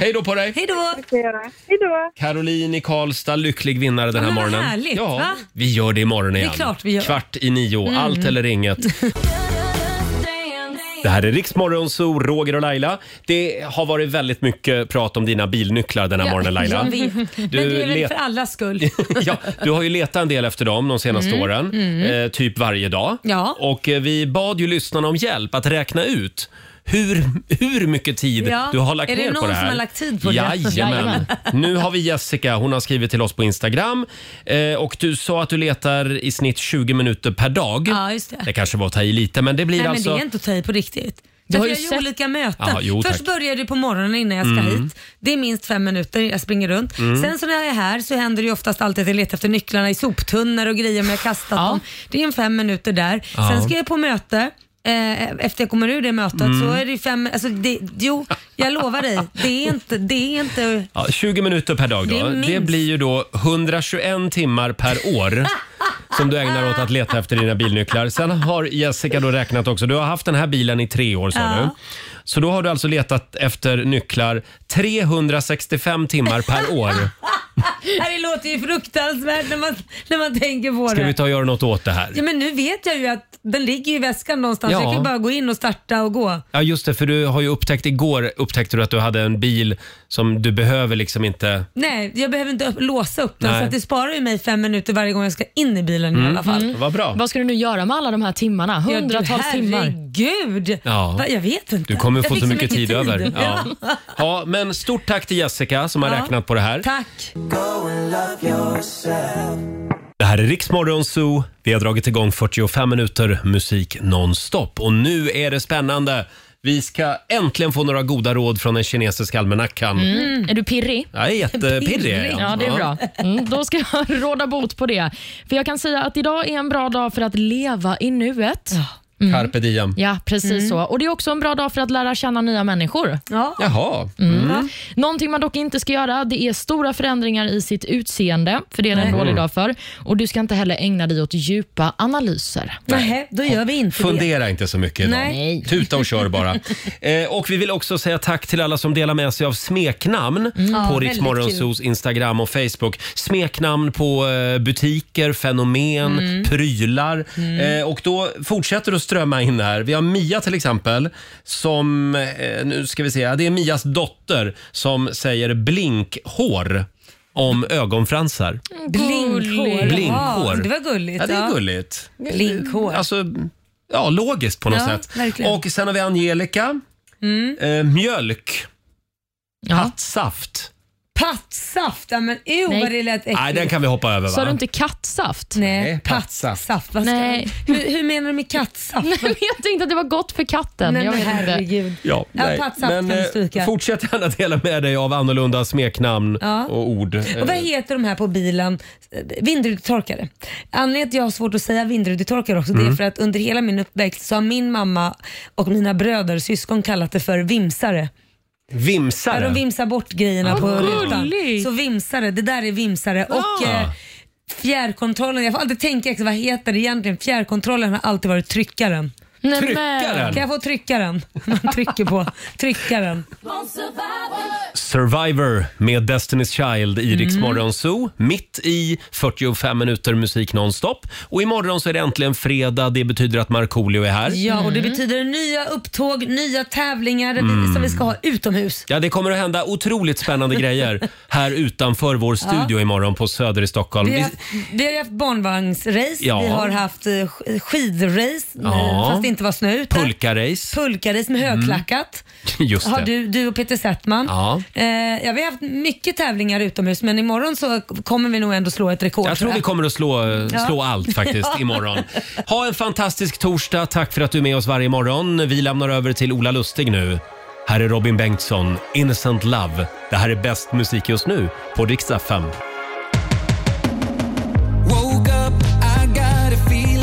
A: Hej då på dig!
B: Hej då!
K: Hej då!
A: Caroline i Karlstad, lycklig vinnare den här
B: men vad
A: morgonen.
B: härligt,
A: ja,
B: va?
A: Vi gör det imorgon
B: Det är
A: igen.
B: klart vi gör.
A: Kvart i nio,
B: Mm.
A: allt eller inget. Det här är Riksmorgon, så Roger och Laila. Det har varit väldigt mycket prat om dina bilnycklar den här morgonen Laila.
B: Jag vet. Men
A: Du
B: det är väl
A: let-
B: för allas skull.
A: *laughs* ja, du har ju letat en del efter dem de senaste
B: Mm,
A: åren,
B: mm.
A: Eh, typ varje dag.
B: Ja.
A: Och eh, vi bad ju lyssnarna om hjälp att räkna ut hur, hur mycket tid
B: Ja.
A: du har lagt
B: Är det
A: ner på
B: någon
A: det här.
B: som har lagt tid på det?
A: Jajamän.
B: Jajamän.
A: nu har vi Jessica, hon har skrivit till oss på Instagram. Eh, och du sa att du letar i snitt 20 minuter per dag.
B: Ja, just det.
A: Det kanske var att ta i lite, men det blir
B: Nej,
A: alltså...
B: men det är inte att ta i på riktigt.
A: Du har
B: Du har
A: ju
B: jag gör
A: sett-
B: olika möten.
A: Ja, jo,
B: Först
A: tack.
B: börjar det på morgonen innan jag ska
A: Mm.
B: hit. Det är minst fem minuter, jag springer runt.
A: Mm.
B: Sen så när jag är här så händer det ju oftast alltid att jag letar efter nycklarna i soptunnor och grejer om jag har kastat dem. Det är en fem minuter där.
A: Ja.
B: Sen ska jag på möte. Eh, efter jag kommer ur det mötet
A: Mm.
B: så är det ju fem... Alltså det, jo, jag lovar dig. Det är inte... Det är inte
A: Ja, 20 minuter per dag
B: Det
A: då.
B: är
A: Det,
B: minst.
A: blir ju då 121 timmar per
B: *laughs*
A: år som du ägnar åt att leta efter dina bilnycklar. Sen har Jessica då räknat också. Du har haft den här bilen i tre år sa
B: Ja.
A: du. Så då har du alltså letat efter nycklar 365 timmar
B: *laughs*
A: per år.
B: det låter ju fruktansvärt när man, när man tänker på det.
A: Ska vi ta och göra något åt det här?
B: Ja men nu vet jag ju att den ligger i väskan någonstans.
A: Ja.
B: Jag kan bara gå in och starta och gå.
A: Ja just det, för du har ju upptäckt igår upptäckte du att du hade en bil som du behöver liksom
B: Mm.
A: inte...
B: Nej, jag behöver inte upp, låsa upp den
A: Nej.
B: så att det sparar ju mig fem minuter varje gång jag ska in i bilen i
A: Mm.
B: alla fall.
A: Mm. Vad bra.
F: Vad ska du nu göra med alla de här timmarna?
B: Ja, du,
F: Hundratals timmar.
B: Herregud!
A: Ja.
B: Va, jag vet inte.
A: Du kommer
B: Jag
A: få
B: fick
A: så mycket tid, över. Ja.
B: *laughs* Ja.
A: ja, men stort tack till Jessica som har
B: Ja.
A: räknat på det här.
B: Tack!
A: Det här är Riksmorgon Zoo. Vi har dragit igång 45 minuter musik nonstop. Och nu är det spännande. Vi ska äntligen få några goda råd från den kinesiska almanackan.
F: Mm. Är du pirrig?
A: Jag är jättepirrig. är jag.
F: *laughs* Ja, det är bra. Mm, då ska *laughs* jag råda bot på det. För Jag kan säga att idag är en bra dag för att leva i nuet. Mm.
A: Carpe diem.
F: Ja, precis
A: Mm.
F: så. Och Det är också en bra dag för att lära känna nya människor.
A: Jaha.
F: Mm. Någonting man dock inte ska göra det är stora förändringar i sitt utseende, för det är det en
A: Nej.
F: dålig
A: Mm.
F: dag för. Och Du ska inte heller ägna dig åt djupa analyser.
B: Nej, då gör vi inte
A: Fundera inte så mycket idag.
F: Nej.
A: Tuta och
M: *laughs*
A: kör bara. eh, och vi vill också säga tack till alla som delar med sig av smeknamn
M: Mm. Ja,
A: på
M: väldigt
A: Riksmorgonsos Instagram och Facebook. Smeknamn på eh, butiker, fenomen,
M: Mm.
A: prylar. Eh, och då fortsätter det att strömma in här. Vi har Mia till exempel som, eh, nu ska vi se, Ja, det är Mias dotter som säger blinkhår om ögonfransar.
B: Mm. Blinkhår.
A: Blinkhår.
B: Ja, det var gulligt.
A: Ja, det
B: ja.
A: är gulligt.
B: Blinkhår.
A: Alltså, ja, logiskt på något
B: Ja,
A: sätt.
B: verkligen.
A: Och sen har vi Angelica.
B: Mm.
A: Eh, mjölk. Pattsaft.
B: Pattsaft, ja, men uh, vad det lät äckligt.
A: Nej, den kan vi hoppa över va?
F: Sa du inte kattsaft?
B: Nej,
A: pattsaft.
B: Saft, vad ska
F: Nej.
B: Hur, hur menar du med kattsaft?
F: Nej, men *laughs* *laughs* jag tänkte att det var gott för katten.
B: Nej,
F: jag
B: men
F: vet
B: herregud.
A: Ja,
B: Ja,
A: nej.
B: pattsaft
A: Men
B: kan vi
A: eh,
B: stryka.
A: fortsätt gärna dela med dig av annorlunda smeknamn
B: Ja.
A: och ord. Eh,
B: Och vad heter de här på bilen? Eh, Vindrutetorkare. Anledningen till att jag har svårt att säga vindrutetorkare också det är
A: Mm.
B: för att under hela min uppväxt så har min mamma och mina bröder och syskon kallat det för vimsare. Ja,
A: Vimsare.
B: de vimsar bort grejerna
A: Vad
B: på
A: gulligt.
B: rutan. Så vimsare, det där är vimsare. Och
A: Ah.
B: eh, fjärrkontrollen, jag får alltid tänka exakt vad heter det egentligen? Fjärrkontrollen har alltid varit tryckaren.
F: Nej,
A: men- Tryckaren?
B: Kan jag få tryckaren? *laughs* Man trycker på tryckaren.
A: Survivor med Destiny's Child i Rix
B: Mm.
A: Morgon Zoo. Mitt i 45 minuter musik nonstop. Och imorgon så är det äntligen fredag. Det betyder att Markoolio är här.
B: Ja, och det betyder nya upptåg, nya tävlingar
A: Mm.
B: som vi ska ha utomhus.
A: Ja, det kommer att hända otroligt
B: *laughs*
A: spännande grejer här utanför vår studio imorgon på Söder i Stockholm.
B: Vi
A: Vi,
B: har, haft- vi har haft barnvagnsrace,
A: Ja.
B: vi har haft eh, sk- skidrace
A: Ja.
B: eh, fast det inte var snö ute.
A: pulkarace. *laughs*
B: Pulkarace med högklackat.
A: Just
B: Har
A: det.
B: du, du och Peter Settman.
A: Ja.
B: Eh, ja, vi har haft mycket tävlingar utomhus men imorgon så kommer vi nog ändå slå ett rekord.
A: Jag tror vi kommer att slå,
B: Ja.
A: slå allt faktiskt
B: *laughs* Ja.
A: imorgon. Ha en fantastisk torsdag. Tack för att du är med oss varje morgon. Vi lämnar över till Ola Lustig nu. Här är Robin Bengtsson, Innocent Love. Det här är bäst musik just nu på Riksdag 5.
M: Woke up, I got a feeling.